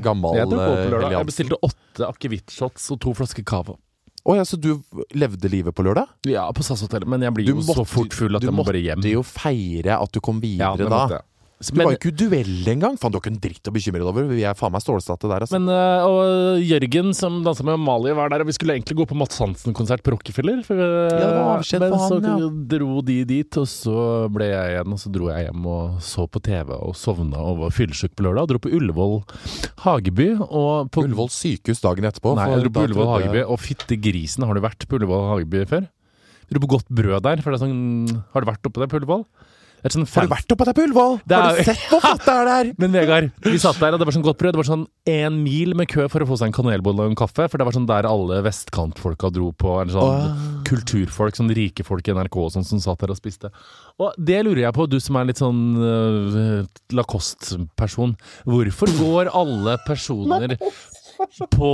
Speaker 2: gammel eh,
Speaker 1: Jeg tok på på lørdag. Jeg
Speaker 2: Elian.
Speaker 1: bestilte åtte akevittshots og to flasker cava.
Speaker 2: Å ja, så du levde livet på lørdag?
Speaker 1: Ja, på SAS-hotellet, men jeg blir
Speaker 2: Du
Speaker 1: jo så
Speaker 2: måtte-
Speaker 1: fort full at
Speaker 2: du
Speaker 1: jeg må bare hjem.
Speaker 2: måtte jo feire at du kom
Speaker 1: ja,
Speaker 2: videre
Speaker 1: det
Speaker 2: da.
Speaker 1: måtte jeg.
Speaker 2: Du var
Speaker 1: Men,
Speaker 2: jo ikke i duell engang! Faen, du har ikke en dritt å bekymre deg over. Vi er faen meg stålsatte der, altså.
Speaker 1: men øh, og Jørgen som dansa med Amalie, var der, og vi skulle egentlig gå på Mads Hansen-konsert på Rockefeller. For, øh,
Speaker 2: Ja, det var avskjed for
Speaker 1: men
Speaker 2: han,
Speaker 1: så
Speaker 2: ja.
Speaker 1: dro de dit, og så ble jeg igjen. Og så dro jeg hjem og så på TV og sovna og var fyllesyk på lørdag. Dro på Ullevål Hageby. Og på,
Speaker 2: Ullevål sykehus dagen etterpå.
Speaker 1: Nei,
Speaker 2: for
Speaker 1: jeg dro
Speaker 2: da
Speaker 1: på Ullevål
Speaker 2: trodde-
Speaker 1: Hageby, og fytti grisen, har du vært på Ullevål Hageby før? Vi dro på Godt Brød der, for det er sånn Har du vært oppe der på Ullevål? Det er et sånn
Speaker 2: Har du vært oppe der på Ullevål?
Speaker 1: Det er-
Speaker 2: Har du sett hvor flott det er der?
Speaker 1: Men Vegard, vi satt der, og det var sånn godt brød. Det var sånn én mil med kø for å få seg en kanelbolle og en kaffe. For det var sånn der alle vestkantfolka dro på. En sånn Kulturfolk, sånn rike folk i NRK og sånn, som satt der og spiste. Og det lurer jeg på, du som er litt sånn øh, Lacoste-person. Hvorfor går alle personer på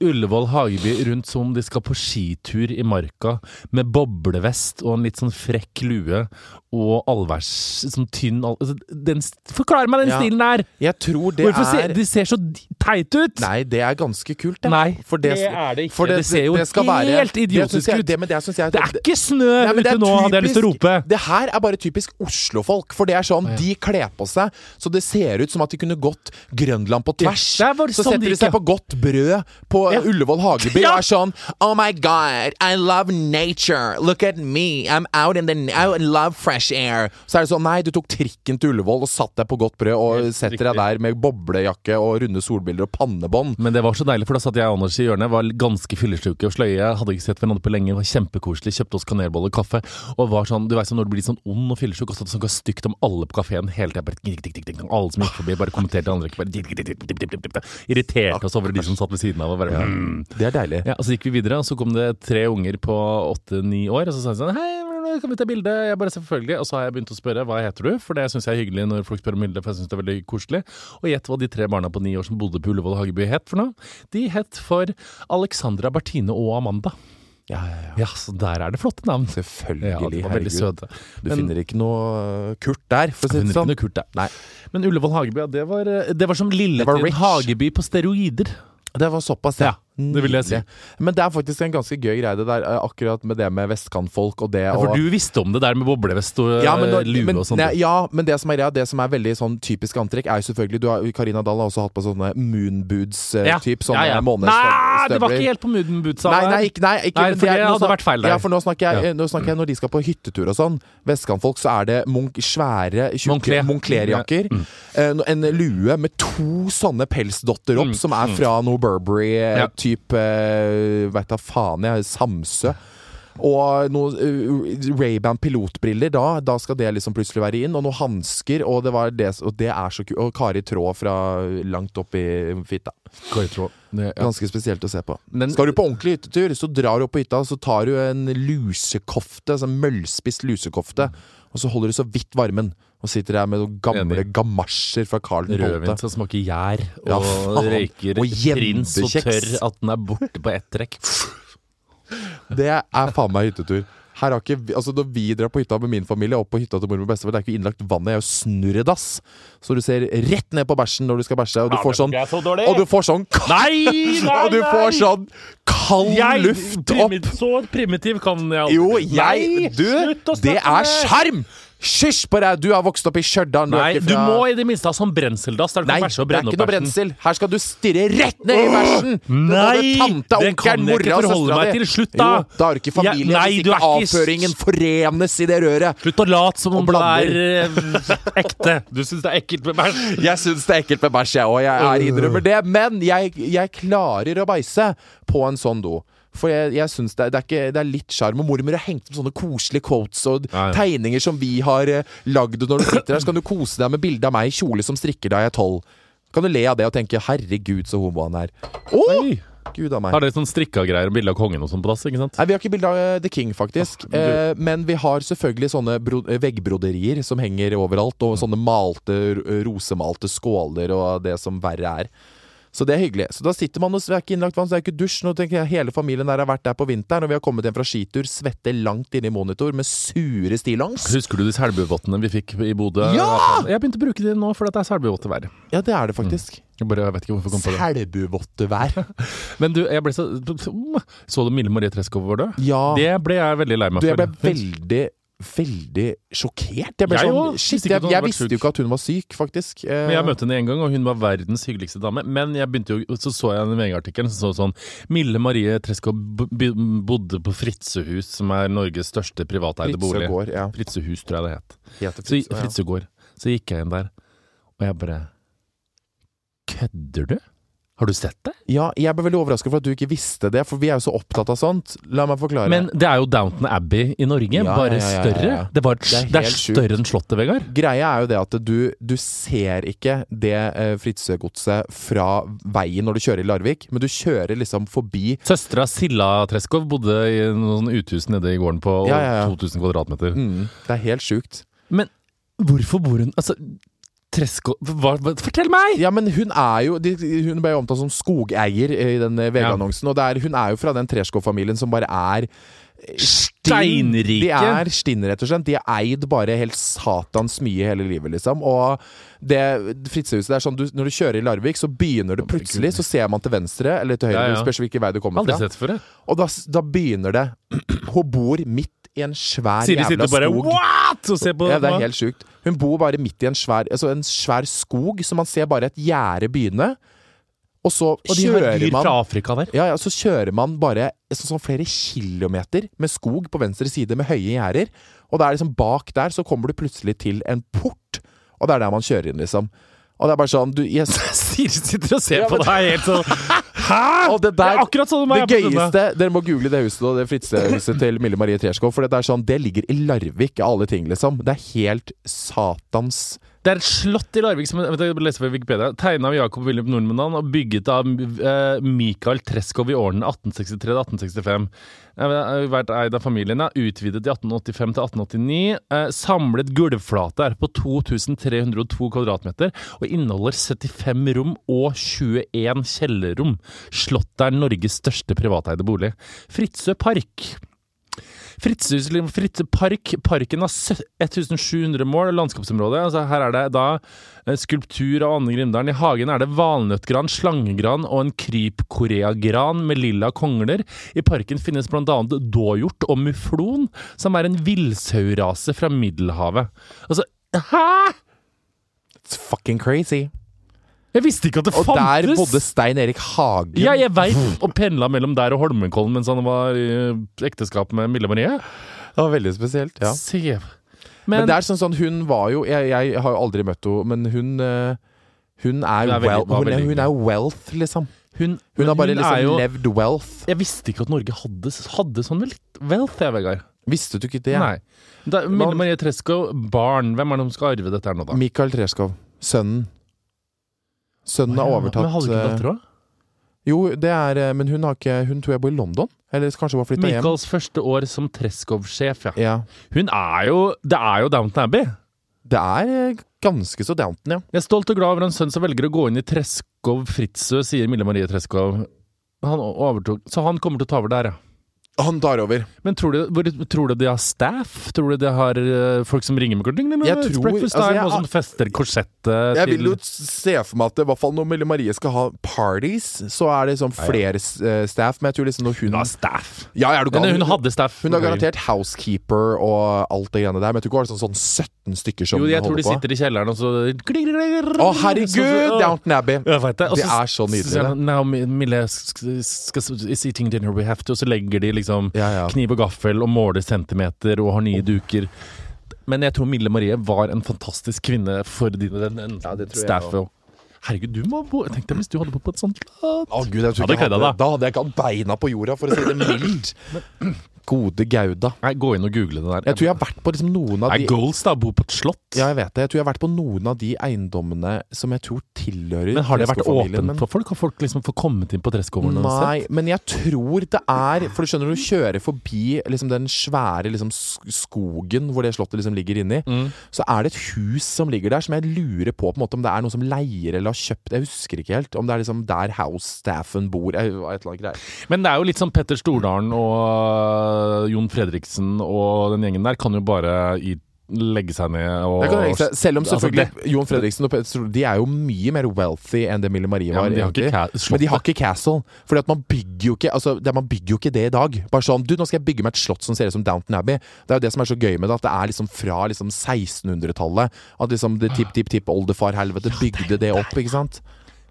Speaker 1: Ullevål Hageby rundt som om de skal på skitur i marka, med boblevest og en litt sånn frekk lue og allværs sånn tynn all... altså, den, Forklar meg den
Speaker 2: Ja.
Speaker 1: stilen der!
Speaker 2: Jeg tror det
Speaker 1: Hvorfor ser,
Speaker 2: er
Speaker 1: de ser så teit ut!
Speaker 2: Nei, det er ganske kult, det.
Speaker 1: Nei,
Speaker 2: for det,
Speaker 1: det er det ikke.
Speaker 2: For det,
Speaker 1: Det ser jo
Speaker 2: skal være-
Speaker 1: helt
Speaker 2: det synes
Speaker 1: idiotisk
Speaker 2: jeg-
Speaker 1: ut.
Speaker 2: Det, men det syns jeg
Speaker 1: Det er ikke snø
Speaker 2: Nei, men
Speaker 1: ute
Speaker 2: det er
Speaker 1: nå, hadde jeg lyst til å
Speaker 2: typisk-
Speaker 1: rope.
Speaker 2: Det her er bare typisk Oslo-folk. For det er sånn, de kler på seg så det ser ut som at de kunne gått Grønland på tvers.
Speaker 1: det er bare
Speaker 2: så
Speaker 1: sånn
Speaker 2: setter
Speaker 1: de
Speaker 2: de seg
Speaker 1: ikke-
Speaker 2: på godt brød på Ullevål Hageby og er sånn Oh my God, I love nature. Look at me. I'm out in the I love fresh air. Så er det sånn, nei, du tok trikken til Ullevål og satt deg på godt brød og setter deg der med boblejakke og runde solbriller og pannebånd.
Speaker 1: Men det var så deilig, for da satt jeg og Anders i hjørnet, var ganske fyllesyke og sløye. Hadde ikke sett hverandre på lenge, var kjempekoselig, kjøpte oss kanelboller og kaffe. Og var sånn, du vet, sånn når du blir sånn ond og fyllesyk og satt og snakka stygt om alle på kafeen hele tida. Alle som gikk forbi, bare kommenterte andre. Bare, dik, dik, dik, dik, dik, dik, dik. irriterte oss over de som satt ved siden av. Og bare, mm.
Speaker 2: Det er deilig.
Speaker 1: Ja, og Så gikk vi videre, og så kom det tre unger på åtte-ni år. Og så sa de sånn Hei, kan vi ta bilde? Jeg bare selvfølgelig. Og så har jeg begynt å spørre hva heter du, for det syns jeg er hyggelig når folk spør om bilde, for jeg syns det er veldig koselig. Og gjett hva de tre barna på ni år som bodde på Ullevål Hageby het for noe? De het for Alexandra, Bertine og Amanda.
Speaker 2: Ja, ja, ja.
Speaker 1: Ja, så der er det flotte navn.
Speaker 2: Selvfølgelig.
Speaker 1: Ja, de var veldig
Speaker 2: herregud.
Speaker 1: søte.
Speaker 2: Du
Speaker 1: Men-
Speaker 2: finner ikke noe Kurt der, for å si
Speaker 1: Hun
Speaker 2: det
Speaker 1: sånn.
Speaker 2: sånn.
Speaker 1: Kurt der.
Speaker 2: Nei.
Speaker 1: Men Ullevål Hageby, ja, det var, det var som
Speaker 2: var
Speaker 1: Lilletun
Speaker 2: rich.
Speaker 1: Hageby på steroider.
Speaker 2: Det var såpass,
Speaker 1: Ja, det vil jeg si.
Speaker 2: Nydelig. Men det er faktisk en ganske gøy greie, det der eh, akkurat med det med vestkantfolk og det
Speaker 1: Ja, for
Speaker 2: og eh,
Speaker 1: du visste om det der med boblevest og eh,
Speaker 2: ja, men, når-
Speaker 1: lue
Speaker 2: men,
Speaker 1: og sånt.
Speaker 2: nei, ja, men det som er greia, det som er veldig sånn typisk antrekk, er jo selvfølgelig du har, Karina Dahl har også hatt på sånne moonboots-type. Eh, Sånne
Speaker 1: Nei, det var
Speaker 2: månestøvler.
Speaker 1: ikke helt på Moodenbootsa.
Speaker 2: Nei, nei, ikke, nei, ikke
Speaker 1: Nei,
Speaker 2: men
Speaker 1: for
Speaker 2: er
Speaker 1: det
Speaker 2: noe
Speaker 1: hadde
Speaker 2: sånn-
Speaker 1: vært feil der.
Speaker 2: Ja, for nå snakker jeg,
Speaker 1: Ja.
Speaker 2: nå snakker jeg når de skal på hyttetur og sånn. Vestkantfolk, så er det monk, svære
Speaker 1: Moncler.
Speaker 2: Moncler-jakker.
Speaker 1: Mm.
Speaker 2: En lue med to sånne pelsdotter opp, som er fra noe
Speaker 1: Mm. Ja.
Speaker 2: eh, Burberry-type Veit eh, da faen, jeg. Samsø. Og noen uh, Ray-Ban pilotbriller, da, da skal det liksom plutselig være inn. Og noen hansker, og det, var det, og det er så kult. Og Kari Traa fra langt opp i fitta. Ganske spesielt å se på.
Speaker 1: Men-
Speaker 2: Skal du på ordentlig hyttetur, så drar du opp på hytta, så tar du en lusekofte, sånn møllspist lusekofte,
Speaker 1: Mm.
Speaker 2: og så holder du så vidt varmen, og sitter der med noen gamle
Speaker 1: Enig.
Speaker 2: gamasjer fra Carl den
Speaker 1: Rødvin
Speaker 2: Bolte.
Speaker 1: som smaker gjær
Speaker 2: Ja,
Speaker 1: og
Speaker 2: faen.
Speaker 1: røyker
Speaker 2: Og
Speaker 1: prins og
Speaker 2: gjemmekjeks.
Speaker 1: tørr at den er borte på ett trekk.
Speaker 2: Det er faen meg hyttetur. Her har ikke, vi- altså Når vi drar på hytta med min familie, opp på hytta til mormor og bestefar, det er ikke innlagt vann, det er jo snurredass. Så du ser rett ned på bæsjen når du skal bæsje, og du får sånn Og du får sånn
Speaker 1: Nei, nei,
Speaker 2: Og du får sånn kald
Speaker 1: Jeg-
Speaker 2: luft opp
Speaker 1: primit- Så primitiv kan jeg aldri
Speaker 2: Jo,
Speaker 1: Nei,
Speaker 2: jeg Du,
Speaker 1: slutt å snakke
Speaker 2: det
Speaker 1: om
Speaker 2: er skjerm! Hysj på deg! Du har vokst opp i Stjørdal.
Speaker 1: Nei,
Speaker 2: er ikke
Speaker 1: du
Speaker 2: fra-
Speaker 1: må i det minste ha sånn brenseldass der du
Speaker 2: Nei,
Speaker 1: kan
Speaker 2: det
Speaker 1: bæsje og
Speaker 2: er
Speaker 1: brenne
Speaker 2: ikke
Speaker 1: opp
Speaker 2: noe
Speaker 1: bæsjen.
Speaker 2: brensel! Her skal du stirre rett ned i bæsjen! Det er både
Speaker 1: nei, det
Speaker 2: tante,
Speaker 1: kan
Speaker 2: onkelen,
Speaker 1: jeg ikke
Speaker 2: mora og
Speaker 1: forholde
Speaker 2: søstera
Speaker 1: meg
Speaker 2: di.
Speaker 1: til. Slutt, da.
Speaker 2: Jo, da har du ikke familie
Speaker 1: Ja, nei,
Speaker 2: hvis
Speaker 1: du er
Speaker 2: ikke
Speaker 1: ikke-
Speaker 2: avføringen forenes i det røret.
Speaker 1: Slutt å late som om du er
Speaker 2: blander.
Speaker 1: eh, ekte. Du syns det er ekkelt med bæsj.
Speaker 2: Jeg syns det er ekkelt med bæsj, jeg òg. Jeg
Speaker 1: Øh.
Speaker 2: er innrømmer det. Men jeg, jeg klarer å bæsje på en sånn do. For jeg, jeg synes det, er- det, er ikke, det er litt sjarm. Og mormor har hengt opp sånne koselige quotes og
Speaker 1: Ja, ja.
Speaker 2: tegninger som vi har eh, lagd. Og når du sitter her, så kan du kose deg med bilde av meg i kjole som strikker da jeg er tolv. Kan du le av det og tenke 'herregud, så homo han er'. Å! Gud av meg.
Speaker 1: Har dere sånn strikka greier og bilde av kongen og sånn på dass? ikke sant?
Speaker 2: Nei, Vi har ikke bilde av eh, The King,
Speaker 1: Ah,
Speaker 2: faktisk. eh, men vi har selvfølgelig sånne bro eh, veggbroderier som henger overalt, og
Speaker 1: Mm.
Speaker 2: sånne malte, ro- rosemalte skåler og det som verre er. Så det er hyggelig. Så da sitter man og det er ikke innlagt vann, så det er ikke dusj. Nå tenker jeg hele familien der har vært der på vinteren, og vi har kommet hjem fra skitur, svette langt inne i monitor med sure stillongs.
Speaker 1: Husker du de selbuvottene vi fikk i Bodø?
Speaker 2: Ja!
Speaker 1: Jeg begynte å bruke de nå fordi det er selbuvotter hver.
Speaker 2: Ja, det er det faktisk.
Speaker 1: Jeg bare jeg vet ikke hvorfor jeg kom Mm. på det.
Speaker 2: Selbuvottevær.
Speaker 1: Men du, jeg ble så Så du Mille Marie Treskov var død?
Speaker 2: Ja.
Speaker 1: Det ble jeg veldig lei meg
Speaker 2: Du, jeg
Speaker 1: for.
Speaker 2: ble veldig veldig sjokkert. Jeg, ble
Speaker 1: Jeg
Speaker 2: sånn,
Speaker 1: også.
Speaker 2: shit,
Speaker 1: Visste ikke
Speaker 2: jeg,
Speaker 1: at hun hadde
Speaker 2: jeg
Speaker 1: vært
Speaker 2: visste
Speaker 1: sjuk.
Speaker 2: jo ikke at hun var syk, faktisk. Eh,
Speaker 1: Men jeg møtte henne en gang, og hun var verdens hyggeligste dame. Men jeg begynte jo, så så jeg en VG-artikkel som så sånn Mille Marie Treskov b- b- bodde på Fritzehus, som er Norges største privateide
Speaker 2: Fritze
Speaker 1: bolig.
Speaker 2: Gård, ja.
Speaker 1: Fritzehus, tror jeg det het.
Speaker 2: Heter
Speaker 1: Så,
Speaker 2: Fritze, ja.
Speaker 1: Fritzøe går. Så gikk jeg inn der, og jeg bare Kødder du? Har du sett det?
Speaker 2: Ja, jeg ble veldig overrasket for at du ikke visste det, for vi er jo så opptatt av sånt. La meg forklare.
Speaker 1: Men det er jo Downton Abbey i Norge,
Speaker 2: Ja,
Speaker 1: bare
Speaker 2: ja, ja, ja, ja.
Speaker 1: større. Det, var et,
Speaker 2: Det
Speaker 1: det
Speaker 2: er
Speaker 1: er,
Speaker 2: helt sjukt.
Speaker 1: større enn Slottet, Vegard.
Speaker 2: Greia er jo det at du, du ser ikke det eh, Fritzøe-godset fra veien når du kjører i Larvik, men du kjører liksom forbi
Speaker 1: Søstera Silla Treskov bodde i noen sånne uthus nede i gården på
Speaker 2: Ja, ja, ja.
Speaker 1: 2000 kvadratmeter.
Speaker 2: mm, Det er helt sjukt.
Speaker 1: Men hvorfor bor hun Altså, Treskov hva, hva, Fortell meg!
Speaker 2: Ja, men hun er jo de, Hun ble jo eh, omtalt som skogeier i den eh, VG-annonsen, og det er, hun er jo fra den Treskov-familien som bare er stinn.
Speaker 1: Steinrike.
Speaker 2: De er stinn, rett og slett. De er eid bare helt satans mye hele livet, liksom. Og det Fritzehuset, det er sånn du, når du kjører i Larvik, så begynner det plutselig, så ser man til venstre eller til høyre,
Speaker 1: Ja, ja.
Speaker 2: det spørs hvilken vei du kommer
Speaker 1: Aldri
Speaker 2: fra.
Speaker 1: sett før, jeg.
Speaker 2: Og da, s- da begynner det. Hun bor midt i en svær
Speaker 1: Siri sitter
Speaker 2: jævla
Speaker 1: bare
Speaker 2: skog.
Speaker 1: What?! og ser på
Speaker 2: Ja, det er helt sjukt. Hun bor bare midt i en svær, altså en svær skog, så man ser bare et gjerde begynne. Og så
Speaker 1: Og de har
Speaker 2: kjører
Speaker 1: dyr
Speaker 2: man
Speaker 1: fra Afrika der.
Speaker 2: ja, ja, så kjører man bare sånn, sånn flere kilometer med skog på venstre side med høye gjerder. Og da er liksom bak der så kommer du plutselig til en port, og det er der man kjører inn, liksom. Og det er bare sånn du, yes.
Speaker 1: Siri sitter og ser
Speaker 2: Ja,
Speaker 1: på
Speaker 2: men-
Speaker 1: deg helt sånn Hæ?!
Speaker 2: Og det der
Speaker 1: er akkurat sånn som
Speaker 2: Det
Speaker 1: jeg er på denne.
Speaker 2: gøyeste Dere må google det huset og det Fritzehuset til Mille Marie Treskov, for det er sånn Det ligger i Larvik, alle ting, liksom. Det er helt satans
Speaker 1: Det er et slott i Larvik som vet du, jeg leser fra Wikipedia tegna av Jacob Wilhelm Nordmann og bygget av eh, Michael Treskov i årene 1863-1865. Vært eid av familien, er utvidet i 1885 til 1889. Eh, samlet gulvflate er på 2302 kvadratmeter og inneholder 75 rom og 21 kjellerrom. Slottet er Norges største privateide bolig. Fritzøe Park Fritzhus Fritze Park. Parken har sø- 1700 mål landskapsområde. Altså, her er det da eh, skulptur av Anne Grimdalen. I hagen er det valnøttgran, slangegran og en krypkoreagran med lilla kongler. I parken finnes bl.a. dåhjort og muflon, som er en villsaurase fra Middelhavet. Altså, hæ?!
Speaker 2: It's fucking crazy.
Speaker 1: Jeg visste ikke at det
Speaker 2: Og
Speaker 1: fantes!
Speaker 2: der bodde Stein Erik Hagen.
Speaker 1: Ja, jeg veit! Og pendla mellom der og Holmenkollen mens han var i eh, ekteskap med Mille Marie.
Speaker 2: Det var veldig spesielt. Ja.
Speaker 1: Se.
Speaker 2: Men, det er sånn sånn, hun var jo Jeg, jeg har jo aldri møtt henne, men hun eh,
Speaker 1: Hun
Speaker 2: Hun er,
Speaker 1: er veldig-
Speaker 2: wel-
Speaker 1: var
Speaker 2: hun er,
Speaker 1: veldig
Speaker 2: hun er wealth, liksom.
Speaker 1: Hun,
Speaker 2: Hun har bare
Speaker 1: hun
Speaker 2: liksom
Speaker 1: er jo-
Speaker 2: levd wealth.
Speaker 1: Jeg visste ikke at Norge hadde, hadde sånn vel- wealth, jeg, Vegard.
Speaker 2: Visste du ikke det?
Speaker 1: Nei. Da, Mille Marie Treskov, barn. Hvem er det som skal arve dette her nå, da?
Speaker 2: Mikael Treskov. Sønnen. Sønnen har overtatt
Speaker 1: Men hadde ikke
Speaker 2: eh,
Speaker 1: datter òg?
Speaker 2: Jo, det er eh, Men hun har ikke Hun tror jeg bor i London. Eller kanskje hun har flytta hjem.
Speaker 1: Michaels første år som Treskov-sjef, ja.
Speaker 2: Ja.
Speaker 1: Hun er jo Det er jo Downton Abbey.
Speaker 2: Det er eh, ganske så Downton, ja.
Speaker 1: Jeg er stolt og glad over en sønn som velger å gå inn i Treskov Fritzøe, sier Mille Marie Treskov. Han overtok Så han kommer til å ta over der, ja.
Speaker 2: Han tar over.
Speaker 1: Men tror du, hvor- tror du de har staff? Tror du de har eh, folk som ringer med korting?
Speaker 2: Jeg tror-
Speaker 1: Breakfast
Speaker 2: altså,
Speaker 1: time
Speaker 2: jeg-
Speaker 1: og sånn fester korsettet
Speaker 2: Jeg vil jo se for meg at det, i hvert fall når Mille Marie skal ha parties, så er det liksom flere eh, staff. Men jeg tror liksom når hun
Speaker 1: Hun har staff!
Speaker 2: Ja, er du gal?
Speaker 1: Men eh, hun hadde staff.
Speaker 2: Hun har garantert housekeeper og alt det greiene der, men jeg tror ikke hun har sånn, sånn 17 stykker som
Speaker 1: Jo, jeg tror de
Speaker 2: holder på.
Speaker 1: sitter i kjelleren og så
Speaker 2: Å,
Speaker 1: Å,
Speaker 2: herregud! Downton Abbey.
Speaker 1: Jeg vet det. Og
Speaker 2: Det er så nydelig,
Speaker 1: sier han, Now, Mi- Mille, sk- skal is eating dinner we have to. Og så legger de liksom
Speaker 2: Ja, ja.
Speaker 1: kniv og gaffel og måler centimeter og har nye duker. Men jeg tror Mille Marie var en fantastisk kvinne for din, den, den staff. og- Herregud, du må bo Tenk deg hvis du hadde bodd på et sånt
Speaker 2: Å,
Speaker 1: land.
Speaker 2: gud, jeg tror
Speaker 1: Hadde
Speaker 2: ikke jeg
Speaker 1: kødda, da.
Speaker 2: hadde, da hadde jeg ikke hatt beina på jorda, for å si det mildt. Gode gauda.
Speaker 1: Nei, gå inn og google det der.
Speaker 2: Jeg tror jeg har vært på liksom noen av
Speaker 1: Nei,
Speaker 2: de
Speaker 1: goals, da. Bo på et slott.
Speaker 2: ja, jeg vet det. Jeg tror jeg har vært på noen av de eiendommene som jeg tror tilhører
Speaker 1: Men har det vært
Speaker 2: Treskov-familien, men-
Speaker 1: åpent for folk? Har folk liksom fått kommet inn på Treskoven? og sett?
Speaker 2: Nei, men jeg tror det er For du skjønner, når du kjører forbi liksom, den svære liksom, sk- skogen hvor det slottet liksom, ligger inni, så er det et hus som ligger der som jeg lurer på, på en måte, om det er noen som leier eller har kjøpt Jeg husker ikke helt. Om det er liksom, der house-staffen bor. Jeg, et eller annet greier.
Speaker 1: Men det er jo litt sånn Petter Stordalen og Jon Fredriksen og den gjengen der kan jo bare i, legge seg ned og
Speaker 2: Det kan jeg tenke seg. Selv om
Speaker 1: Altså,
Speaker 2: selvfølgelig
Speaker 1: det-
Speaker 2: Jon Fredriksen og Petter Stordalen De er jo mye mer wealthy enn det Mille Marie
Speaker 1: Ja,
Speaker 2: var.
Speaker 1: men de har ikke
Speaker 2: egentlig.
Speaker 1: ca-
Speaker 2: Men de
Speaker 1: slottet.
Speaker 2: har ikke castle. Fordi at man bygger jo ikke Altså, det, man bygger jo ikke det i dag. Bare sånn Du, nå skal jeg bygge meg et slott som ser ut som Downton Abbey. Det er jo det som er så gøy med det, at det er liksom fra liksom 1600-tallet. At liksom det tipp-tipp-tipp-oldefar-helvete bygde det opp, ikke sant?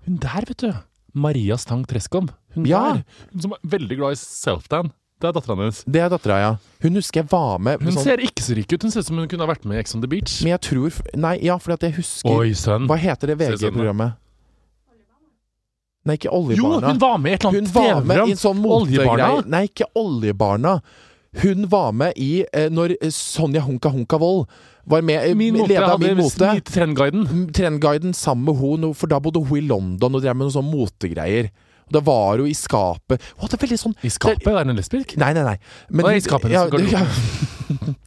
Speaker 1: Hun der, vet du. Maria Stang Treskom. Hun
Speaker 2: Ja.
Speaker 1: der. Hun som er veldig glad i self-dan. Det er dattera hennes.
Speaker 2: Det er dattera, ja. Hun husker jeg var med
Speaker 1: Hun
Speaker 2: sånn,
Speaker 1: ser ikke så rik ut. Hun ser ut som hun kunne ha vært med i Ex on the Beach.
Speaker 2: Men jeg tror Nei, ja, fordi at jeg husker
Speaker 1: Oi, sønn.
Speaker 2: Hva heter det
Speaker 1: Se sånn, da.
Speaker 2: VG-programmet? Nei, ikke
Speaker 1: Jo,
Speaker 2: Oljebarna.
Speaker 1: hun var med i et eller
Speaker 2: Hun
Speaker 1: annet
Speaker 2: var med i en
Speaker 1: TV-program.
Speaker 2: sånn motegreie.
Speaker 1: Oljebarna.
Speaker 2: Nei, ikke Oljebarna. Hun var med i eh, Når Sonja Hunka Hunka Wold var med eh,
Speaker 1: Min mote
Speaker 2: leda
Speaker 1: hadde
Speaker 2: Min Mote.
Speaker 1: smitt Trendguiden.
Speaker 2: Trendguiden sammen med hun, for da bodde hun i London og drev med noen sånne motegreier. Og da var hun i skapet. Hun hadde veldig sånn
Speaker 1: I skapet? Er hun lesbisk?
Speaker 2: Nei, nei, nei. Men
Speaker 1: Nei, i skapet, så går det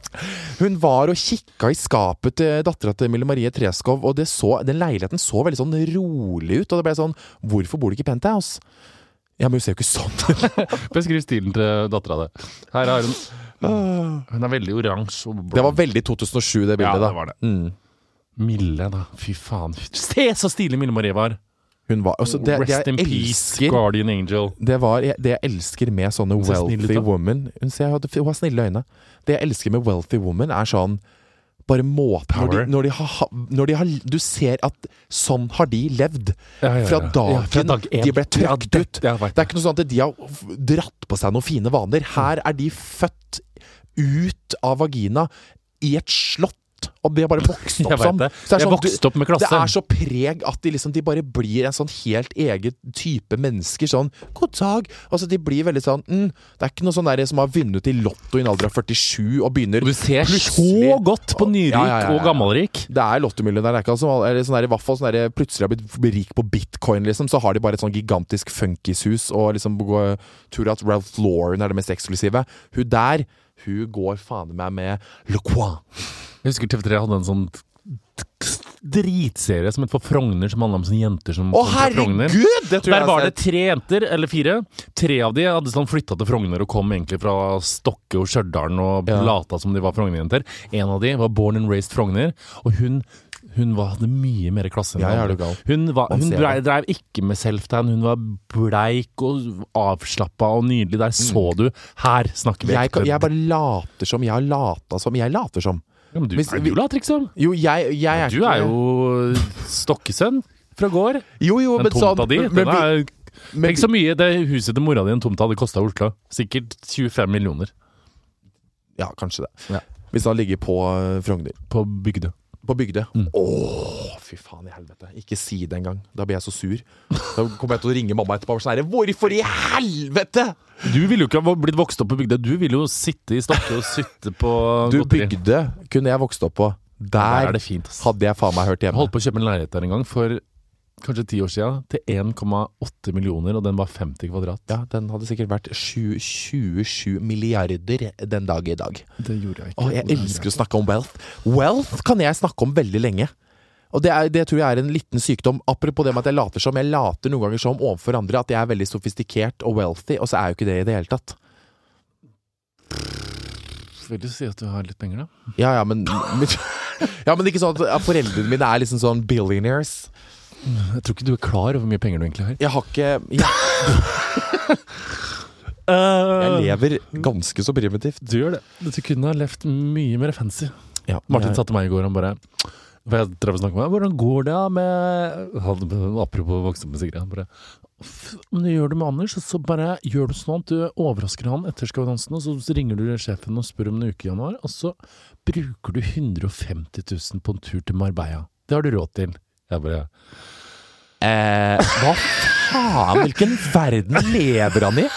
Speaker 2: hun var og kikka i skapet til dattera til Mille Marie Treskov, og det så, den leiligheten så veldig sånn rolig ut. Og det ble sånn Hvorfor bor du ikke i penthouse? Ja, men hun ser jo ikke sånn
Speaker 1: Beskriv stilen til dattera di. Her har hun Hun er veldig oransje og
Speaker 2: Det var veldig 2007, det
Speaker 1: Ja,
Speaker 2: bildet. da
Speaker 1: det var det.
Speaker 2: Mm.
Speaker 1: Mille, da. Fy faen. Se så stilig Mille Marie var!
Speaker 2: Hun var altså, det, det
Speaker 1: Rest
Speaker 2: jeg
Speaker 1: in peace,
Speaker 2: elsker
Speaker 1: Guardian Angel.
Speaker 2: det, var, det jeg elsker med sånne
Speaker 1: ser snill ut,
Speaker 2: wealthy
Speaker 1: da.
Speaker 2: women Hun, ser, hun har- hun har snille øyne. Det jeg elsker med wealthy woman, er sånn Bare måten
Speaker 1: Power.
Speaker 2: når de, når, de har, når de har Du ser at sånn har de levd.
Speaker 1: Ja, ja, ja.
Speaker 2: Fra
Speaker 1: Ja,
Speaker 2: dagen
Speaker 1: fra dag én.
Speaker 2: de ble
Speaker 1: Ja,
Speaker 2: trøkt
Speaker 1: det-
Speaker 2: ut.
Speaker 1: ja, jeg
Speaker 2: det
Speaker 1: vet
Speaker 2: er ikke noe sånn at de har f- dratt på seg noen fine vaner. Her er de født ut av vagina i et slott. Og de har bare vokst opp
Speaker 1: Jeg
Speaker 2: som.
Speaker 1: vet det.
Speaker 2: Så
Speaker 1: Jeg
Speaker 2: sånn, du-
Speaker 1: vokste opp med klasse.
Speaker 2: Det er så preg at de liksom De bare blir en sånn helt egen type mennesker. Sånn 'god dag'. Altså De blir veldig sånn mm, Det er ikke noe sånn der som har vunnet i Lotto i en alder av 47 og begynner
Speaker 1: Du ser så
Speaker 2: plutselig-
Speaker 1: godt på nyrik
Speaker 2: Ja, ja, ja, ja.
Speaker 1: og gammelrik.
Speaker 2: det er lottomillionær, det er ikke han som eller sånn der, i hvert fall sånn der, plutselig har blitt rik på bitcoin, liksom. Så har de bare et sånn gigantisk funkishus, og liksom går- tror at Ralph Lauren er det mest eksklusive. Hun der, hun går faen meg med Le Coin.
Speaker 1: Jeg husker TV3 hadde en sånn dritserie som het For Frogner, som handla om sånne jenter som
Speaker 2: Å,
Speaker 1: kom fra Frogner.
Speaker 2: herregud! Det tror jeg
Speaker 1: Der
Speaker 2: jeg
Speaker 1: var
Speaker 2: har
Speaker 1: det
Speaker 2: sett.
Speaker 1: tre jenter, eller fire. Tre av de hadde sånn flytta til Frogner og kom egentlig fra Stokke og Stjørdal og
Speaker 2: Ja.
Speaker 1: lata som de var Frogner-jenter. En av de var born and raised Frogner, og hun hun var, hadde mye mer klasse enn
Speaker 2: Ja,
Speaker 1: de
Speaker 2: ja, er du
Speaker 1: andre.
Speaker 2: gal.
Speaker 1: Hun, var,
Speaker 2: Man
Speaker 1: hun
Speaker 2: ser
Speaker 1: drev, drev ikke med self-tan. Hun var bleik og avslappa og nydelig. Der så du Her snakker vi
Speaker 2: Mm. Jeg, kan-
Speaker 1: ekte.
Speaker 2: jeg bare later som. Jeg har lata som. Jeg later som.
Speaker 1: ja, men du,
Speaker 2: hvis-
Speaker 1: er du later ikke som.
Speaker 2: Jo, jeg, jeg er
Speaker 1: Du
Speaker 2: ikke-
Speaker 1: er jo stokkesønn fra gård.
Speaker 2: Jo, jo,
Speaker 1: Den
Speaker 2: men sånn
Speaker 1: tomta di,
Speaker 2: men-
Speaker 1: den er
Speaker 2: men-
Speaker 1: Tenk så mye det huset til mora di en tomt hadde kosta Oslo. Sikkert 25 millioner
Speaker 2: Ja, kanskje det.
Speaker 1: Ja.
Speaker 2: Hvis han ligger på eh, Frogner.
Speaker 1: på Bygdø.
Speaker 2: På Bygdø.
Speaker 1: Mm.
Speaker 2: Åh, fy faen i helvete. Ikke si det engang. Da blir jeg så sur. Da kommer jeg til å ringe mamma etterpå og være sånn herre Hvorfor i helvete?!
Speaker 1: Du ville jo ikke ha blitt vokst opp på Bygdø. Du ville jo sitte i Stokke og sitte på
Speaker 2: Du,
Speaker 1: godteri.
Speaker 2: Bygdø kunne jeg vokst opp på.
Speaker 1: Der
Speaker 2: Der,
Speaker 1: er det fint, ass.
Speaker 2: hadde jeg faen meg hørt
Speaker 1: Jeg
Speaker 2: hjemme.
Speaker 1: holdt på å kjøpe en leilighet der en gang for kanskje ti år siden til 1,8 millioner, og den var 50 kvadrat.
Speaker 2: Ja, den hadde sikkert vært sju- 27 milliarder den dag i dag.
Speaker 1: Det gjorde jeg
Speaker 2: Å, jeg elsker å snakke om wealth. Wealth kan jeg snakke om veldig lenge. Og det, er, det tror jeg er en liten sykdom. Apropos det med at jeg later som. Jeg later noen ganger som overfor andre at jeg er veldig sofistikert og wealthy, og så er jeg jo ikke det i det hele tatt.
Speaker 1: Vil du si at du har litt penger, da?
Speaker 2: Ja, ja, men Ja, men ikke sånn at at foreldrene mine er liksom sånn billionaires.
Speaker 1: Jeg tror ikke du er klar over hvor mye penger du egentlig har.
Speaker 2: Jeg har ikke Jeg, jeg lever ganske så primitivt.
Speaker 1: Eh, Du gjør det. Du kunne ha levd mye mer fancy.
Speaker 2: Ja,
Speaker 1: Martin
Speaker 2: jeg-
Speaker 1: sa til meg i går, han bare for jeg drev og snakket med ham, Hvordan går det da med han, Apropos voksenmusikere. Han bare «F- Om du gjør det med Anders, så bare gjør du sånn at du overrasker han etter Skavadansen, og så ringer du sjefen og spør om en uke i januar, og så bruker du 150 000 på en tur til Marbella. Det har du råd til. Jeg bare
Speaker 2: Eh, hva faen? Hvilken verden lever han i?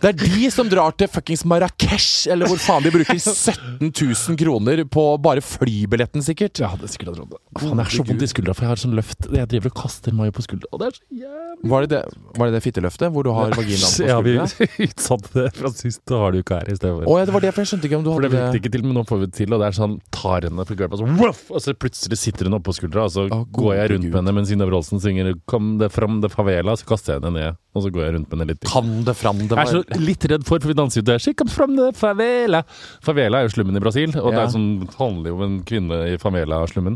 Speaker 2: Det er de som drar til fuckings Marrakech, eller hvor faen de bruker 17 000 kroner på bare flybilletten, sikkert.
Speaker 1: Jeg hadde sikkert hatt råd. Faen, jeg har så vondt i skuldra, for jeg har sånn løft. Jeg driver og kaster meg på skuldra, og det er så jævlig
Speaker 2: Var det det, var det, det fitteløftet hvor du har vaginaen på
Speaker 1: Ja, vi
Speaker 2: skuldra?
Speaker 1: utsatte det eh, fra sist, da har du ikke her i stedet.
Speaker 2: Å ja, det var det, for jeg skjønte ikke om du
Speaker 1: For det
Speaker 2: hadde
Speaker 1: fikk det ikke til, men nå får vi det til, og det er sånn tar henne på gulvet, og så, voff, og så plutselig sitter hun oppå skuldra, og så
Speaker 2: Å,
Speaker 1: går jeg
Speaker 2: gode
Speaker 1: rundt
Speaker 2: Gud.
Speaker 1: med henne mens Ina Wroldsen synger 'Kom det fram, det favela', så kaster jeg henne ned, og så går jeg rundt med henne litt.
Speaker 2: Kan det fram, det
Speaker 1: Jeg
Speaker 2: var
Speaker 1: er så litt redd for, for vi danser jo der She comes from the favela Favela er jo slummen i Brasil Og det
Speaker 2: Ja.
Speaker 1: er sånn, handler jo om en kvinne i favela-slummen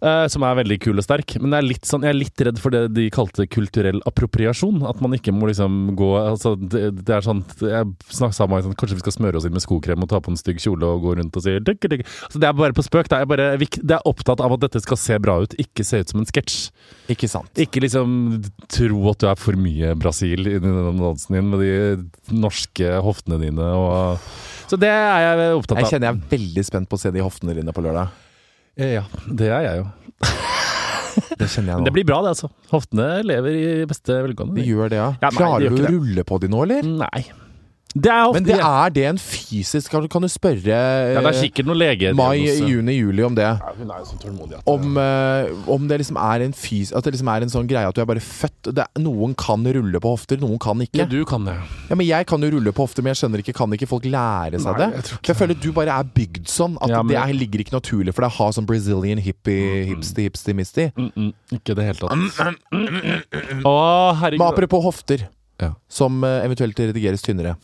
Speaker 1: eh, Som er veldig kul og sterk Men det er litt sånn, jeg er litt redd for det de kalte kulturell appropriasjon At man ikke må liksom gå altså, det, det er sånn, jeg snakket sammen med meg sånn, Kanskje vi skal smøre oss inn med skokrem Og ta på en stygg kjole og gå rundt og si «Dykke, dykke». altså, Det er bare på spøk det er, bare, vik- det er opptatt av at dette skal se bra ut Ikke se ut som en sketsj
Speaker 2: Ikke sant.
Speaker 1: ikke liksom tro at du er for mye Brasil i den dansen din med de norske hoftene dine og Så det er jeg opptatt av.
Speaker 2: Jeg kjenner jeg er veldig spent på å se de hoftene dine på lørdag.
Speaker 1: Ja, det er jeg jo.
Speaker 2: Det kjenner jeg
Speaker 1: Men
Speaker 2: nå.
Speaker 1: det blir bra, det, altså. Hoftene lever i beste velgående.
Speaker 2: De gjør det, ja.
Speaker 1: Ja, nei, de
Speaker 2: Klarer
Speaker 1: gjør
Speaker 2: du
Speaker 1: ikke
Speaker 2: å
Speaker 1: det.
Speaker 2: rulle på de nå, eller?
Speaker 1: Nei. Det er hofte,
Speaker 2: Men det er det en fysisk Kan du, kan du spørre eh,
Speaker 1: ja, det er sikkert noen leger
Speaker 2: mai, juni, juli om det?
Speaker 1: Hun er jo så tålmodig at
Speaker 2: Om, eh, om det liksom er en fys At det liksom er en sånn greie at du er bare født det, er- Noen kan rulle på hofter, noen kan
Speaker 1: ja,
Speaker 2: ikke
Speaker 1: Du kan det.
Speaker 2: ja, men Jeg kan jo rulle på hofter, men jeg skjønner ikke Kan ikke folk lære seg
Speaker 1: Nei,
Speaker 2: det?
Speaker 1: jeg
Speaker 2: Jeg,
Speaker 1: tror ikke
Speaker 2: føler du bare er bygd sånn At
Speaker 1: Ja, men-
Speaker 2: det er, ligger ikke naturlig for deg Å ha sånn Brazilian hippie, hipsty, hipsty, misty
Speaker 1: Mm -mm, ikke i det hele tatt. Å,
Speaker 2: Men
Speaker 1: herregud.
Speaker 2: apropos hofter
Speaker 4: Ja.
Speaker 2: som eh, eventuelt redigeres tynnere.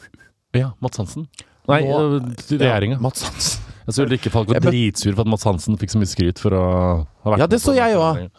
Speaker 1: Ja, Mats Hansen. Nei, eh,
Speaker 2: Nå-
Speaker 1: regjeringa.
Speaker 2: Mats Hansen.
Speaker 1: Jeg så Ulrikke Falk var
Speaker 2: Jeg ble-
Speaker 1: dritsur for at Mats Hansen fikk så mye skryt for å ha vært
Speaker 2: Ja, det så jeg jo.
Speaker 1: Jeg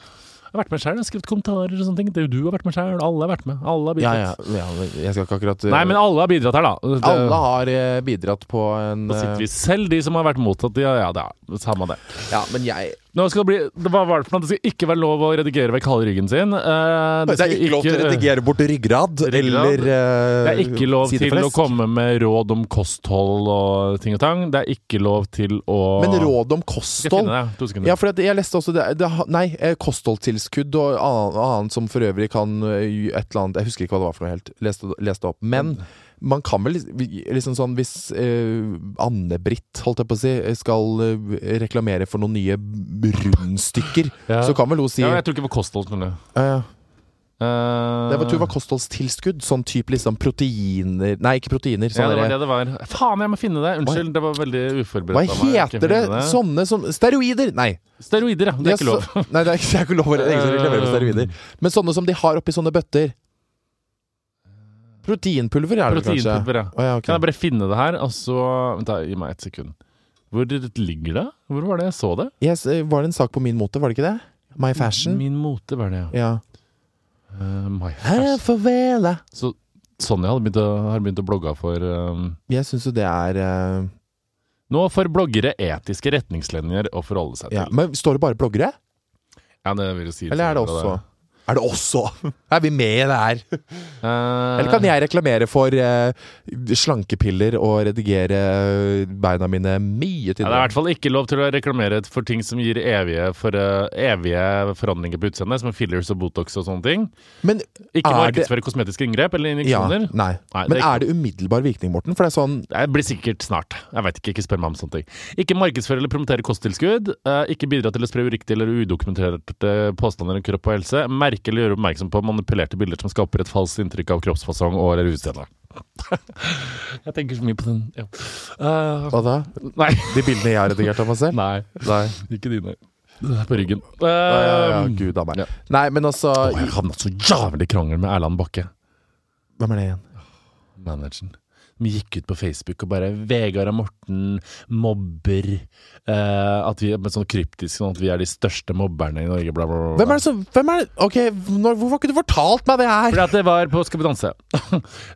Speaker 1: har vært med sjøl, skrevet kommentarer og sånne ting. Det er jo du har vært med sjøl. Alle har vært med. Alle har
Speaker 2: Ja,
Speaker 1: bidratt.
Speaker 2: ja, ja, men jeg skal ikke akkurat eh,
Speaker 1: Nei, men alle har bidratt her, da. Det,
Speaker 2: Alle har eh, bidratt på en
Speaker 1: på sitt
Speaker 2: eh,
Speaker 1: vis. Selv de som har vært mot at de Ja, det er samme det.
Speaker 2: Ja, men jeg
Speaker 1: Nå skal det bli det var var det for noe? Det skal ikke være lov å redigere vekk halve ryggen sin. Eh,
Speaker 4: Det er
Speaker 1: skal
Speaker 4: ikke lov til å redigere bort ryggrad eller eh,
Speaker 1: Det er ikke lov til å
Speaker 4: sideflesk.
Speaker 1: komme med råd om kosthold og ting og tang. Det er ikke lov til å
Speaker 2: Men råd
Speaker 1: Skal
Speaker 2: om
Speaker 1: jeg
Speaker 2: kosthold
Speaker 1: finne det? To sekunder.
Speaker 2: Ja, for det, jeg leste også det, det ha- Nei, eh, kostholdstilskudd og annet, annet som for øvrig kan eh, gjø- et eller annet Jeg husker ikke hva det var for noe helt. Leste, leste opp. Men
Speaker 1: Mm.
Speaker 2: man kan vel lis- vi- liksom sånn Hvis eh, Anne-Britt, holdt jeg på å si, skal eh, reklamere for noen nye rundstykker,
Speaker 1: Ja.
Speaker 2: så kan vel hun si
Speaker 1: Ja,
Speaker 2: ja,
Speaker 1: jeg tror ikke på kosthold. Sånn.
Speaker 2: Det var, tror jeg var kostholdstilskudd. Sånn type liksom proteiner Nei, ikke proteiner. sånn
Speaker 1: ja,
Speaker 2: Sånne
Speaker 1: det var det det var. Faen, jeg må finne det! Unnskyld, det var veldig uforberedt. av
Speaker 2: hva
Speaker 1: meg å ikke
Speaker 2: heter det?
Speaker 1: finne
Speaker 2: Sånne som Steroider! Nei.
Speaker 1: Steroider, ja. Det er ikke lov.
Speaker 2: så- Nei, det er ikke, det er ikke lov å det er ingen som reklamerer for steroider. Men sånne som de har oppi sånne bøtter. Proteinpulver er det vel kanskje?
Speaker 1: Proteinpulver, ja.
Speaker 2: Å, ja, ok.
Speaker 1: Kan jeg bare finne det her, og så Vent, da, gi meg et sekund. Hvor ligger det? Hvor var det jeg så det?
Speaker 2: Yes, eh, var det en sak på min mote, var det ikke det? My fashion?
Speaker 1: Min mote, var det, ja.
Speaker 2: Ja.
Speaker 1: Eh, my
Speaker 2: Hæ,
Speaker 1: fashion.
Speaker 2: farvel.
Speaker 1: Så Sonja hadde begynt å, har begynt å blogge for eh,
Speaker 2: Jeg syns jo det er eh,
Speaker 1: Nå får bloggere etiske retningslinjer å forholde seg til.
Speaker 2: ja. Men står det bare bloggere?
Speaker 1: Ja, det vil jeg si.
Speaker 2: Eller er det også Er det også? Er vi med i det her?
Speaker 1: Eh,
Speaker 2: Eller kan jeg reklamere for eh, slankepiller og redigere eh, beina mine mye
Speaker 1: ja, Det er i
Speaker 2: tynnere?
Speaker 1: hvert fall ikke lov til å reklamere for ting som gir evige, for, eh, evige forandringer på utseendet, som fillers og Botox og sånne ting.
Speaker 2: Men
Speaker 1: Ikke
Speaker 2: Er det-
Speaker 1: markedsføre kosmetiske inngrep eller
Speaker 2: ja,
Speaker 1: injeksjoner.
Speaker 2: nei.
Speaker 1: Nei, det
Speaker 2: Men
Speaker 1: er ikke-
Speaker 2: er det umiddelbar virkning, Morten? For det er sånn
Speaker 1: Det blir sikkert snart. Jeg vet ikke, ikke spør meg om sånne ting. Ikke markedsføre eller promotere kosttilskudd. eh, Ikke bidra til å spre uriktige eller udokumenterte påstander om kropp og helse. Merke eller gjøre oppmerksom på manipulerte bilder som skaper et falskt inntrykk av kroppsfasong og eller utseende. jeg tenker så mye på den ja. Eh,
Speaker 2: Hva da?
Speaker 1: nei.
Speaker 2: De bildene jeg har redigert av meg selv?
Speaker 1: nei.
Speaker 2: Nei.
Speaker 1: Ikke dine. Det er på ryggen.
Speaker 2: Ja, ja, ja,
Speaker 1: Eh,
Speaker 2: Gud a meg.
Speaker 1: ja.
Speaker 2: Nei, men altså
Speaker 1: jeg har havnet så jævlig i krangel med Erland Bakke.
Speaker 2: Hvem er det igjen?
Speaker 1: manageren. De gikk ut på Facebook og bare 'Vegard og Morten mobber eh, at vi, Men sånn kryptisk sånn at vi er de største mobberne i Norge, bla, bla, bla.
Speaker 2: Hvem er det som Hvem er det? Ok, når, hvorfor har ikke du fortalt meg det her?
Speaker 1: Fordi at det var på Skal vi danse.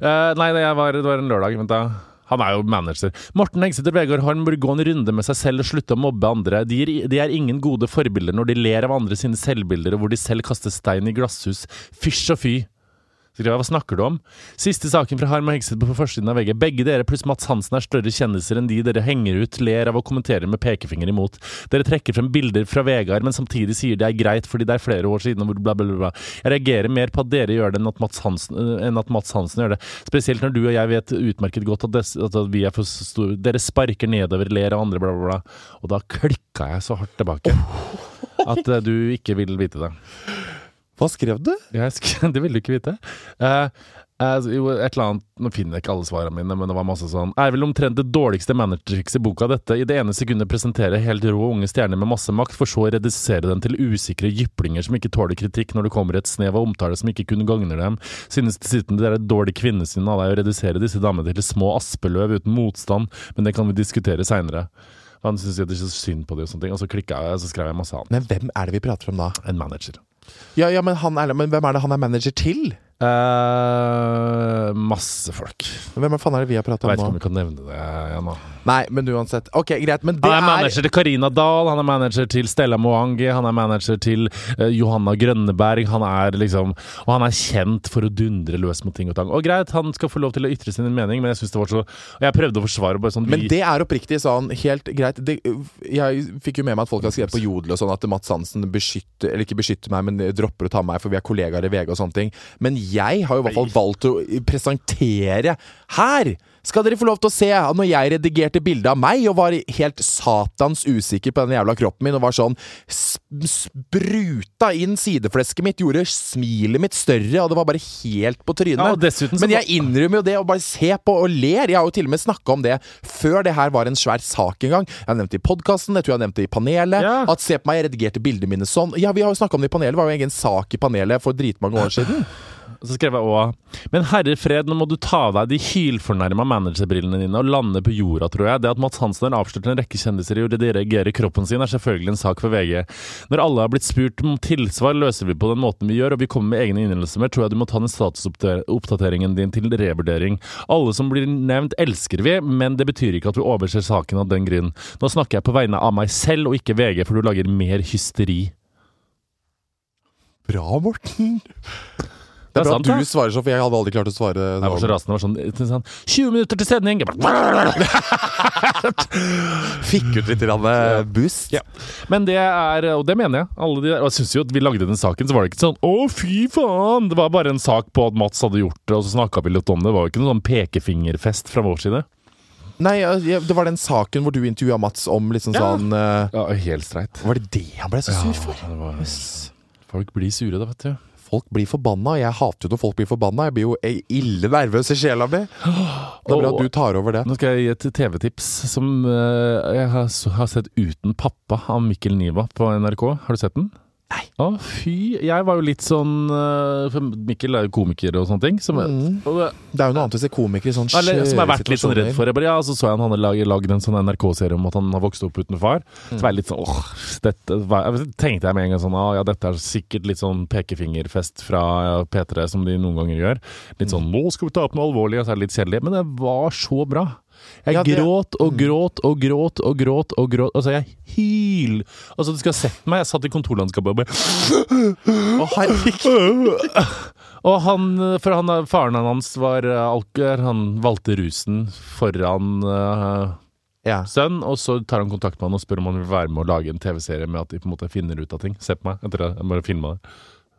Speaker 1: Eh, nei, det var, det var en lørdag. Vent, da. Han er jo manager. Morten Engsæter Vegard Harm burde gå en runde med seg selv og slutte å mobbe andre. De, gir- de er ingen gode forbilder når de ler av andre sine selvbilder, og hvor de selv kaster stein i glasshus. Fysj og fy. Skriver jeg, Hva snakker du om? Siste saken fra Harm og Hegseth på forsiden av VG. Begge dere pluss Mats Hansen er større kjendiser enn de dere henger ut, ler av og kommenterer med pekefinger imot. Dere trekker frem bilder fra Vegard, men samtidig sier det er greit fordi det er flere år siden og bla, bla, bla. bla. Jeg reagerer mer på at dere gjør det enn at Mats Hansen, eh, enn at Mats Hansen gjør det. Spesielt når du og jeg vet utmerket godt at, des, at vi er for store. Dere sparker nedover, ler av andre, bla, bla, bla. Og da klikka jeg så hardt tilbake at eh, du ikke vil vite det.
Speaker 2: Hva skrev du?
Speaker 1: Jeg sk det ville du ikke vite. Eh, eh, så jo, et eller annet, Nå finner jeg ikke alle svarene mine, men det var masse sånn Er vel omtrent det dårligste managertrikset i boka dette. I det ene sekundet presentere helt rå unge stjerner med masse makt, for så å redusere dem til usikre jyplinger som ikke tåler kritikk når det kommer et snev av omtale som ikke kun gagner dem. Synes dessuten det er et dårlig kvinnesyn av deg å redusere disse damene til små aspeløv uten motstand, men det kan vi diskutere seinere. Han syntes jeg det er så synd på det og sånne ting. Og så klikka jeg, og så skrev jeg masse annet.
Speaker 2: Men hvem er det vi prater om da?
Speaker 1: En manager.
Speaker 2: Ja, ja, men, han er, men hvem er det han er manager til?
Speaker 1: Eh, masse folk.
Speaker 2: Hvem faen er det vi har
Speaker 1: Jeg
Speaker 2: pratet
Speaker 1: vet ikke
Speaker 2: om
Speaker 1: om
Speaker 2: nå?
Speaker 1: vi kan nevne det igjen nå.
Speaker 2: Nei, men uansett. Ok, greit, men det
Speaker 1: Han er
Speaker 2: er
Speaker 1: manager til Karina Dahl, han er manager til Stella Moangi, han er manager til eh, Johanna Grønneberg. Han er liksom Og han er kjent for å dundre løs mot ting og tang. Og greit, han skal få lov til å ytre sin mening, men jeg synes det var så Og jeg prøvde å forsvare bare sånn
Speaker 2: Men
Speaker 1: vi-
Speaker 2: det er oppriktig sånn helt greit. Det, jeg fikk jo med meg at folk har skrevet på Jodel og sånn at Mats Hansen beskytter, eller ikke beskytter meg, men dropper å ta meg, for vi er kollegaer i VG og sånne ting. Men jeg har jo i hvert fall valgt å presentere her! Skal dere få lov til å se at når jeg redigerte bildet av meg og var helt satans usikker på den jævla kroppen min og var sånn s- spruta inn sideflesket mitt, gjorde smilet mitt større, og det var bare helt på trynet.
Speaker 1: Ja, og dessuten så-
Speaker 2: Men jeg innrømmer jo det, og bare se på og ler. Jeg har jo til og med snakka om det før det her var en svær sak en gang. Jeg har nevnt det i podkasten, jeg tror jeg nevnte det i panelet.
Speaker 1: Ja.
Speaker 2: At se på meg, jeg redigerte bildene mine sånn. Ja, vi har jo snakka om det i panelet, det var jo en egen sak i panelet for dritmange år siden.
Speaker 1: Så skrev jeg òg Men herre fred, nå må du ta av deg de hylfornærma managerbrillene dine og lande på jorda, tror jeg. Det at Mads Hansen har avslørt en rekke kjendiser i å redigere kroppen sin, er selvfølgelig en sak for VG. Når alle har blitt spurt om tilsvar, løser vi på den måten vi gjør, og vi kommer med egne innrømmelser, tror jeg du må ta den statusoppdateringen din til revurdering. Alle som blir nevnt, elsker vi, men det betyr ikke at vi overser saken av den grunn. Nå snakker jeg på vegne av meg selv og ikke VG, for du lager mer hysteri.
Speaker 4: Bra, Morten.
Speaker 1: Det
Speaker 4: Bra
Speaker 1: sant,
Speaker 4: du
Speaker 1: det.
Speaker 4: svarer sånn, for jeg hadde aldri klart å svare.
Speaker 1: Jeg var så rasende. Det var sånn, sånn 20 minutter til sending! Jeg bare,
Speaker 4: Fikk ut litt grann, eh, boost.
Speaker 1: men det er Og det mener jeg. Alle de der, og jeg synes jo at vi lagde den saken, så var det ikke sånn 'Å, fy faen!' Det var bare en sak på at Mats hadde gjort det, og så snakka vi litt om det. Det var jo ikke noen sånn pekefingerfest fra vår side.
Speaker 2: Nei, jeg- det var den saken hvor du intervjua Mats om liksom sånn eh,
Speaker 1: Ja, Helt streit.
Speaker 2: Var det det han ble så sur for?
Speaker 1: Det var, folk blir sure, da, vet du.
Speaker 2: Folk blir forbanna. og Jeg hater jo når folk blir forbanna. Jeg blir jo eh, ille nervøs i sjela mi. Det er bra at du tar over det.
Speaker 1: Nå skal jeg gi et TV-tips som eh, jeg har, s- har sett Uten pappa av Mikkel Niva på NRK. Har du sett den? Nei. Å, fy. Jeg var jo litt sånn eh, For Mikkel er jo komiker og sånne ting. Som, og det,
Speaker 2: Mm. Det er jo noe annet å se komikere i sånn
Speaker 1: eller, som jeg har vært litt sånn redd
Speaker 2: situasjoner.
Speaker 1: for. Jeg bare, ja, så så jeg han hadde lag- lagd en sånn NRK-serie om at han har vokst opp uten far. Så var jeg litt sånn åh, dette var, jeg tenkte jeg med en gang sånn ah, ja, dette er sikkert litt sånn pekefingerfest fra ja, P3, som de noen ganger gjør. Litt sånn nå skal vi ta opp noe alvorlig, og så er det litt kjedelig. Men det var så bra. Jeg
Speaker 2: Ja, det- Mm.
Speaker 1: gråt og gråt og gråt og gråt og gråt. Altså, jeg hyl! Altså, du skulle ha sett meg. Jeg satt i kontorlandskapet og bare
Speaker 2: Å, herregud.
Speaker 1: og han, for han, faren hans var eh, alker, han valgte rusen foran eh,
Speaker 2: Ja.
Speaker 1: sønn, og så tar han kontakt med han og spør om han vil være med å lage en TV-serie med at de på en måte finner ut av ting. Se på meg, jeg tror jeg, jeg bare filma det.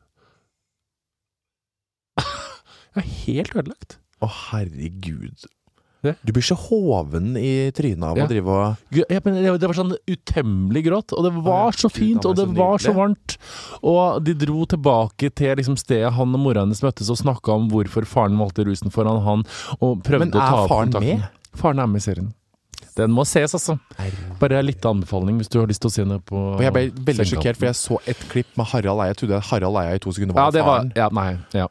Speaker 1: Jeg er helt ødelagt.
Speaker 2: Å, herregud.
Speaker 1: Ja.
Speaker 2: Du blir så hoven i trynet av
Speaker 1: Ja.
Speaker 2: å drive og
Speaker 1: Gud, jeg mener, Det det var sånn utemmelig gråt, og det
Speaker 2: Ja,
Speaker 1: var så
Speaker 2: Gud,
Speaker 1: fint,
Speaker 2: han
Speaker 1: og
Speaker 2: var
Speaker 1: det
Speaker 2: så
Speaker 1: var så
Speaker 2: nydelig.
Speaker 1: varmt. Og de dro tilbake til liksom stedet han og mora hennes møttes og snakka om hvorfor faren valgte rusen foran han, og prøvde
Speaker 2: Men
Speaker 1: å ta
Speaker 2: er
Speaker 1: opp
Speaker 2: faren
Speaker 1: kontakten.
Speaker 2: med?
Speaker 1: Faren er med i serien. Den må ses, altså. Bare en liten anbefaling hvis du har lyst til å se den på
Speaker 2: Og jeg ble veldig
Speaker 1: sengekanten.
Speaker 2: sjokkert, for jeg så et klipp med Harald Eia. Jeg trodde at Harald Eia i to sekunder
Speaker 1: Ja,
Speaker 2: var
Speaker 1: det var
Speaker 2: faren.
Speaker 1: Ja, nei. Ja.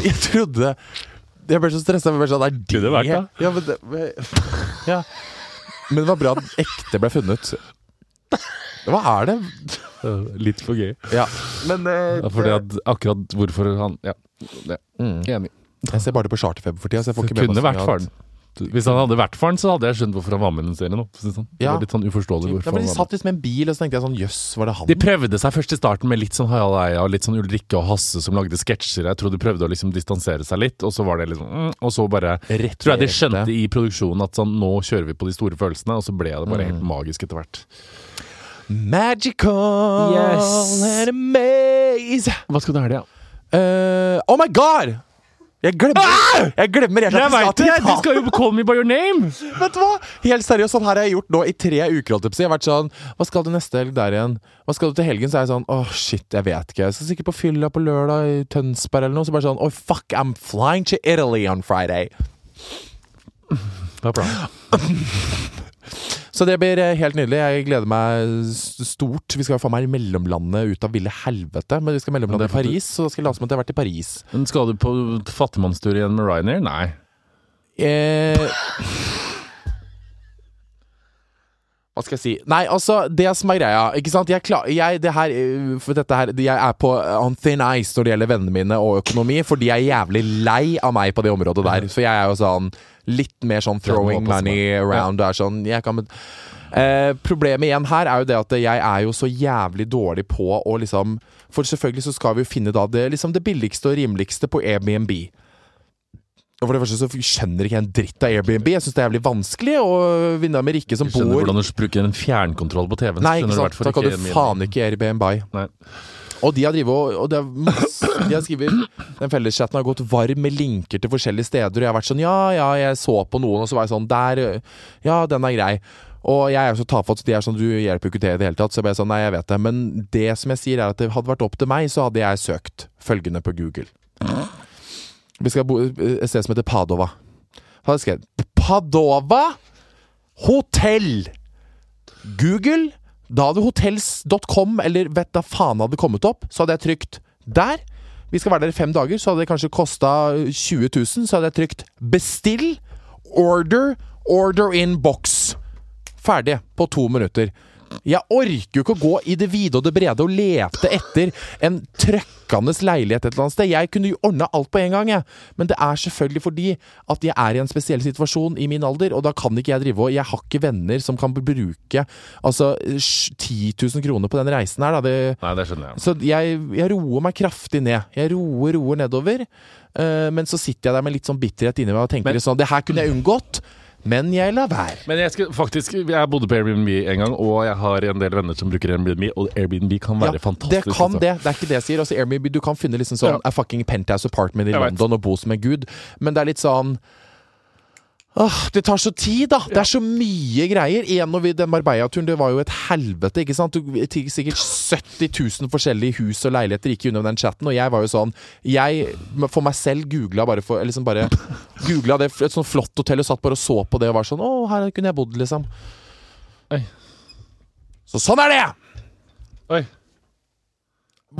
Speaker 2: Jeg trodde Jeg ble så stressa. Jeg ble sånn, det er det
Speaker 1: Kunne vært det.
Speaker 2: Ja, men, det, men, ja. men det var bra at ekte ble funnet. Hva er det?
Speaker 1: Eh, Litt for gøy.
Speaker 2: Ja, men eh,
Speaker 1: Ja, Fordi at akkurat hvorfor han Ja, det.
Speaker 2: Mm.
Speaker 1: enig.
Speaker 2: Jeg ser bare det på charterfeber for tida. Så jeg får
Speaker 1: Det
Speaker 2: ikke med meg
Speaker 1: kunne
Speaker 2: så mye
Speaker 1: vært
Speaker 2: annet.
Speaker 1: faren. Hvis han hadde vært faren, så hadde jeg skjønt hvorfor han var med i den serien. nå, for å si det Sånn. Det
Speaker 2: Ja.
Speaker 1: var litt sånn uforståelig hvorfor
Speaker 2: Ja, men
Speaker 1: han var
Speaker 2: De
Speaker 1: med.
Speaker 2: satt liksom i en bil, og så tenkte jeg sånn jøss, var det han?
Speaker 1: De prøvde seg først i starten med litt sånn Harald Eia og litt sånn Ulrikke og Hasse som lagde sketsjer. Jeg tror de prøvde å liksom distansere seg litt, og så var det liksom mm, Og så bare
Speaker 2: Rett
Speaker 1: tror jeg de
Speaker 2: direkte.
Speaker 1: skjønte i produksjonen at sånn, nå kjører vi på de store følelsene, og så ble det
Speaker 2: Mm.
Speaker 1: bare helt magisk etter hvert.
Speaker 2: Magical
Speaker 1: Yes.
Speaker 2: and amaze.
Speaker 1: Hva skal du ha i helga?
Speaker 2: Eh, oh my god! Jeg glemmer Jeg glemmer helt at
Speaker 1: Ah! Jeg
Speaker 2: vi skal
Speaker 1: veit det!
Speaker 2: til
Speaker 1: Du
Speaker 2: Italia.
Speaker 1: skal jo på Call Me By Your Name!
Speaker 2: Vet du hva? Helt seriøst, sånn her har jeg gjort nå i tre uker. holdt Jeg på å si. Jeg har vært sånn Hva skal du neste helg der igjen? Hva skal du til helgen? Så er jeg sånn Åh, shit, jeg vet ikke. Jeg skal sikkert på fylla på lørdag i Tønsberg eller noe. Så bare sånn Oh, fuck, I'm flying to Italy on Friday.
Speaker 1: Det er bra.
Speaker 2: Så det blir eh, helt nydelig. Jeg gleder meg s- stort. Vi skal faen meg mellomlandet ut av ville helvete. Men vi skal mellomlande i Paris, så da skal jeg late som at jeg har vært i Paris.
Speaker 1: Men skal du på fattigmannstur igjen med Ryanair? Nei.
Speaker 2: Eh, hva skal jeg si? Nei, altså, det som er greia Ikke sant? Jeg, klar, jeg, det her, eh, for dette her, jeg er på eh, on thin ice når det gjelder vennene mine og økonomi, for de er jævlig lei av meg på det området der. Så jeg er jo sånn litt mer sånn
Speaker 1: Det
Speaker 2: throwing
Speaker 1: må passe
Speaker 2: money around. Det er sånn jeg kan, eh, Problemet igjen her er jo det at jeg er jo så jævlig dårlig på å liksom For selvfølgelig så skal vi jo finne da det, liksom det billigste og rimeligste på Airbnb. Og For det første så skjønner ikke jeg en dritt av Airbnb. Jeg syns det er jævlig vanskelig, og venninna mi Rikke som
Speaker 1: Du skjønner
Speaker 2: bor
Speaker 1: hvordan du bruker en fjernkontroll på TV-en. så
Speaker 2: Nei, ikke
Speaker 1: skjønner
Speaker 2: sant.
Speaker 1: hvertfor
Speaker 2: Da kan du
Speaker 1: ikke min-
Speaker 2: faen ikke Airbnb.
Speaker 1: Nei.
Speaker 2: Og de har drivet og, og det er masse, De har skrevet Den felleschatten har gått varm med linker til forskjellige steder, og jeg har vært sånn Ja, ja, jeg så på noen, og så var jeg sånn Der, ø, ja, den er grei. Og jeg er jo så tafatt, så de er sånn Du hjelper jo ikke til i det hele tatt. Så jeg ble sånn Nei, jeg vet det. Men det som jeg sier, er at det hadde vært opp til meg, så hadde jeg søkt følgende på Google. Vi skal bo et sted som heter Padova. Da hadde jeg skrevet Padova hotell! Google Da hadde hotels.com eller vet da faen hadde kommet opp, så hadde jeg trykt der. Vi skal være der i fem dager, så hadde det kanskje kosta 20 000. Så hadde jeg trykt bestill, order, order in box. Ferdig på to minutter. Jeg orker jo ikke å gå i det vide og det brede og lete etter en trøkkende leilighet et eller annet sted. Jeg kunne jo ordna alt på en gang, jeg. Men det er selvfølgelig fordi at jeg er i en spesiell situasjon i min alder, og da kan ikke jeg drive og Jeg har ikke venner som kan bruke altså sj- 10 000 kroner på den reisen her, da. Det,
Speaker 1: Nei, det skjønner jeg.
Speaker 2: så jeg, jeg roer meg kraftig ned. Jeg roer, roer nedover. eh, men så sitter jeg der med litt sånn bitterhet inni meg og tenker sånn Det her kunne jeg unngått, men jeg lar være.
Speaker 1: Men jeg skal faktisk Jeg bodde på Airbnb en gang, og jeg har en del venner som bruker Airbnb, og Airbnb kan
Speaker 2: Ja,
Speaker 1: være
Speaker 2: det
Speaker 1: fantastisk.
Speaker 2: kan
Speaker 1: altså.
Speaker 2: det. Det er ikke det jeg sier. Altså, Airbnb, du kan finne liksom sånn A fucking penthouse apartment i
Speaker 1: Jeg vet.
Speaker 2: London og bo som en gud, men det er litt sånn Åh, det tar så tid, da! Det er så mye greier. Igjen når vi den Marbella-turen, det var jo et helvete, ikke sant? Du, til- sikkert 70 000 forskjellige hus og leiligheter gikk gjennom den chatten, og jeg var jo sånn Jeg for meg selv googla bare for Liksom bare googla det et sånt flott hotell og satt bare og så på det og var sånn Å, her kunne jeg bodd, liksom.
Speaker 1: Oi.
Speaker 2: Så sånn er det!
Speaker 1: Oi.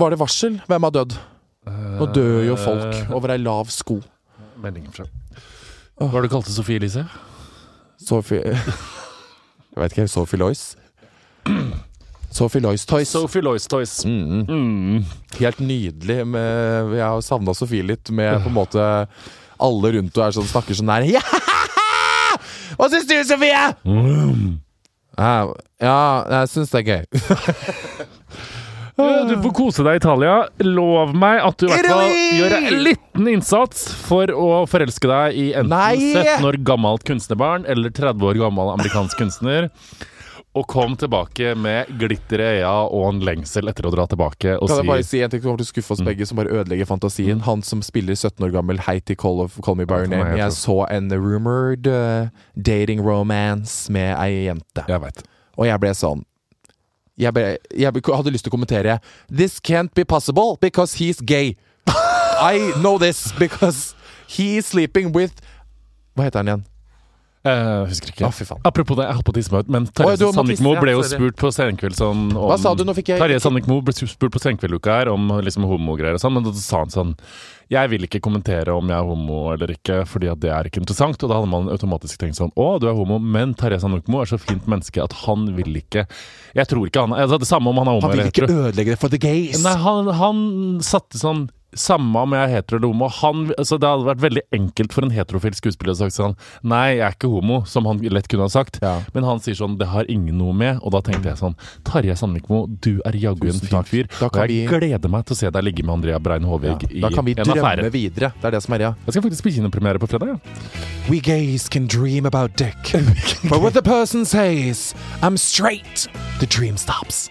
Speaker 2: Var det varsel? Hvem har dødd? Eh. Nå dør jo folk over ei lav sko.
Speaker 1: Eh, Meldingen fra Hva har du kalt det, Sofie Elise?
Speaker 2: Sophie Jeg vet ikke. Sophie Lois? Sophie Lois Toys.
Speaker 1: Sophie Lois Toys.
Speaker 2: Mm.
Speaker 1: Mm.
Speaker 2: Helt nydelig. Med, jeg har savna Sofie litt med på en måte alle rundt og er sånn, snakker sånn her ja! Hva syns du, Sofie? Mm. Eh, Ja, jeg syns det er gøy.
Speaker 1: Ja, Du får kose deg i Italia. Lov meg at du i hvert fall
Speaker 2: Italy!
Speaker 1: gjør en liten innsats for å forelske deg i enten
Speaker 2: Nei!
Speaker 1: 17 år gammelt kunstnerbarn eller 30 år gammel amerikansk kunstner. Og kom tilbake med glitter i øya og en lengsel etter å dra tilbake og
Speaker 2: Kan jeg bare
Speaker 1: si
Speaker 2: si en ting som kommer til å skuffe
Speaker 1: Mm.
Speaker 2: oss begge, som bare ødelegger fantasien? Han som spiller 17 år gammel Hei til Call, of, Call Me By Your
Speaker 1: for meg,
Speaker 2: Name.
Speaker 1: jeg
Speaker 2: Jeg så en rumored eh, dating romance med ei jente.
Speaker 1: Jeg vet.
Speaker 2: Og jeg ble sånn jeg, ble, jeg ble- hadde lyst til å kommentere This can't be possible because he's gay. I know this because he is sleeping with Hva heter han igjen?
Speaker 1: Eh, husker ikke.
Speaker 2: Å, fy faen.
Speaker 1: Apropos det, jeg holdt på å tisse meg ut, men
Speaker 2: Å, du
Speaker 1: Terje
Speaker 2: må
Speaker 1: Sandvikmo
Speaker 2: tisse, ja,
Speaker 1: ble jo
Speaker 2: sorry.
Speaker 1: spurt på Senkveld sånn om
Speaker 2: Hva sa du? Nå fikk jeg
Speaker 1: Terje Sandvikmo ble spurt på Senkvelduka her om liksom homogreier og sånn, men da sa han sånn Jeg vil ikke kommentere om jeg er homo eller ikke, fordi at det er ikke interessant. Og da hadde man automatisk tenkt sånn Å, du er homo, men Terje Sandvikmo er så fint menneske at han vil ikke Jeg tror ikke han altså, Det samme om han er homo
Speaker 2: Han vil
Speaker 1: eller
Speaker 2: ikke
Speaker 1: hetero.
Speaker 2: ødelegge det for the gays.
Speaker 1: Nei, han, han satte sånn samme om jeg er hetero eller homo. Han, altså det hadde vært veldig enkelt for en heterofil skuespiller å sagt sånn Nei, jeg er ikke homo, som han lett kunne ha sagt.
Speaker 2: Ja.
Speaker 1: Men han sier sånn Det har ingen noe med. Og da tenkte jeg sånn Tarjei Sandvikmo, du er jaggu en
Speaker 2: Tusen
Speaker 1: fin
Speaker 2: takk.
Speaker 1: fyr.
Speaker 2: Da
Speaker 1: Og
Speaker 2: kan
Speaker 1: jeg
Speaker 2: vi-
Speaker 1: gleder meg til å se deg ligge med Andrea Brein
Speaker 2: Ja,
Speaker 1: Håvig i
Speaker 2: da kan vi
Speaker 1: en affære.
Speaker 2: drømme videre. Det er det som er greia.
Speaker 1: Jeg skal faktisk på kinopremiere på fredag. Ja.
Speaker 2: We gays can dream about dick. But what the person says, I'm straight, the dream stops.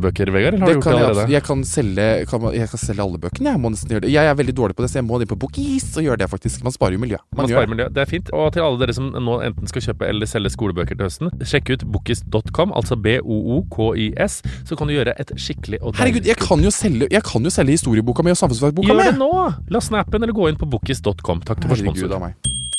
Speaker 3: bøker, Vegard? Eller har du gjort
Speaker 4: kan
Speaker 3: det
Speaker 4: jeg,
Speaker 3: allerede?
Speaker 4: abs- jeg, kan selge, kan, man- jeg kan selge alle bøkene. Jeg må nesten gjøre det Jeg er veldig dårlig på det, så jeg må inn på Bookies og gjøre det, faktisk. Man sparer jo miljø. Man
Speaker 3: Man
Speaker 4: gjør
Speaker 3: sparer miljø. Det er fint. Og til alle dere som nå enten skal kjøpe eller selge skolebøker til høsten, sjekk ut bokis.com, altså B-O-O-K-I-s, så kan du gjøre et skikkelig og
Speaker 4: Herregud, jeg kan jo selge, jeg kan jo selge historieboka mi og samfunnsfagboka
Speaker 3: Gjør det
Speaker 4: mi!
Speaker 3: nå! La snappen eller gå inn på bokis.com. Takk til vår
Speaker 4: Herregud
Speaker 3: sponsor.
Speaker 4: av meg.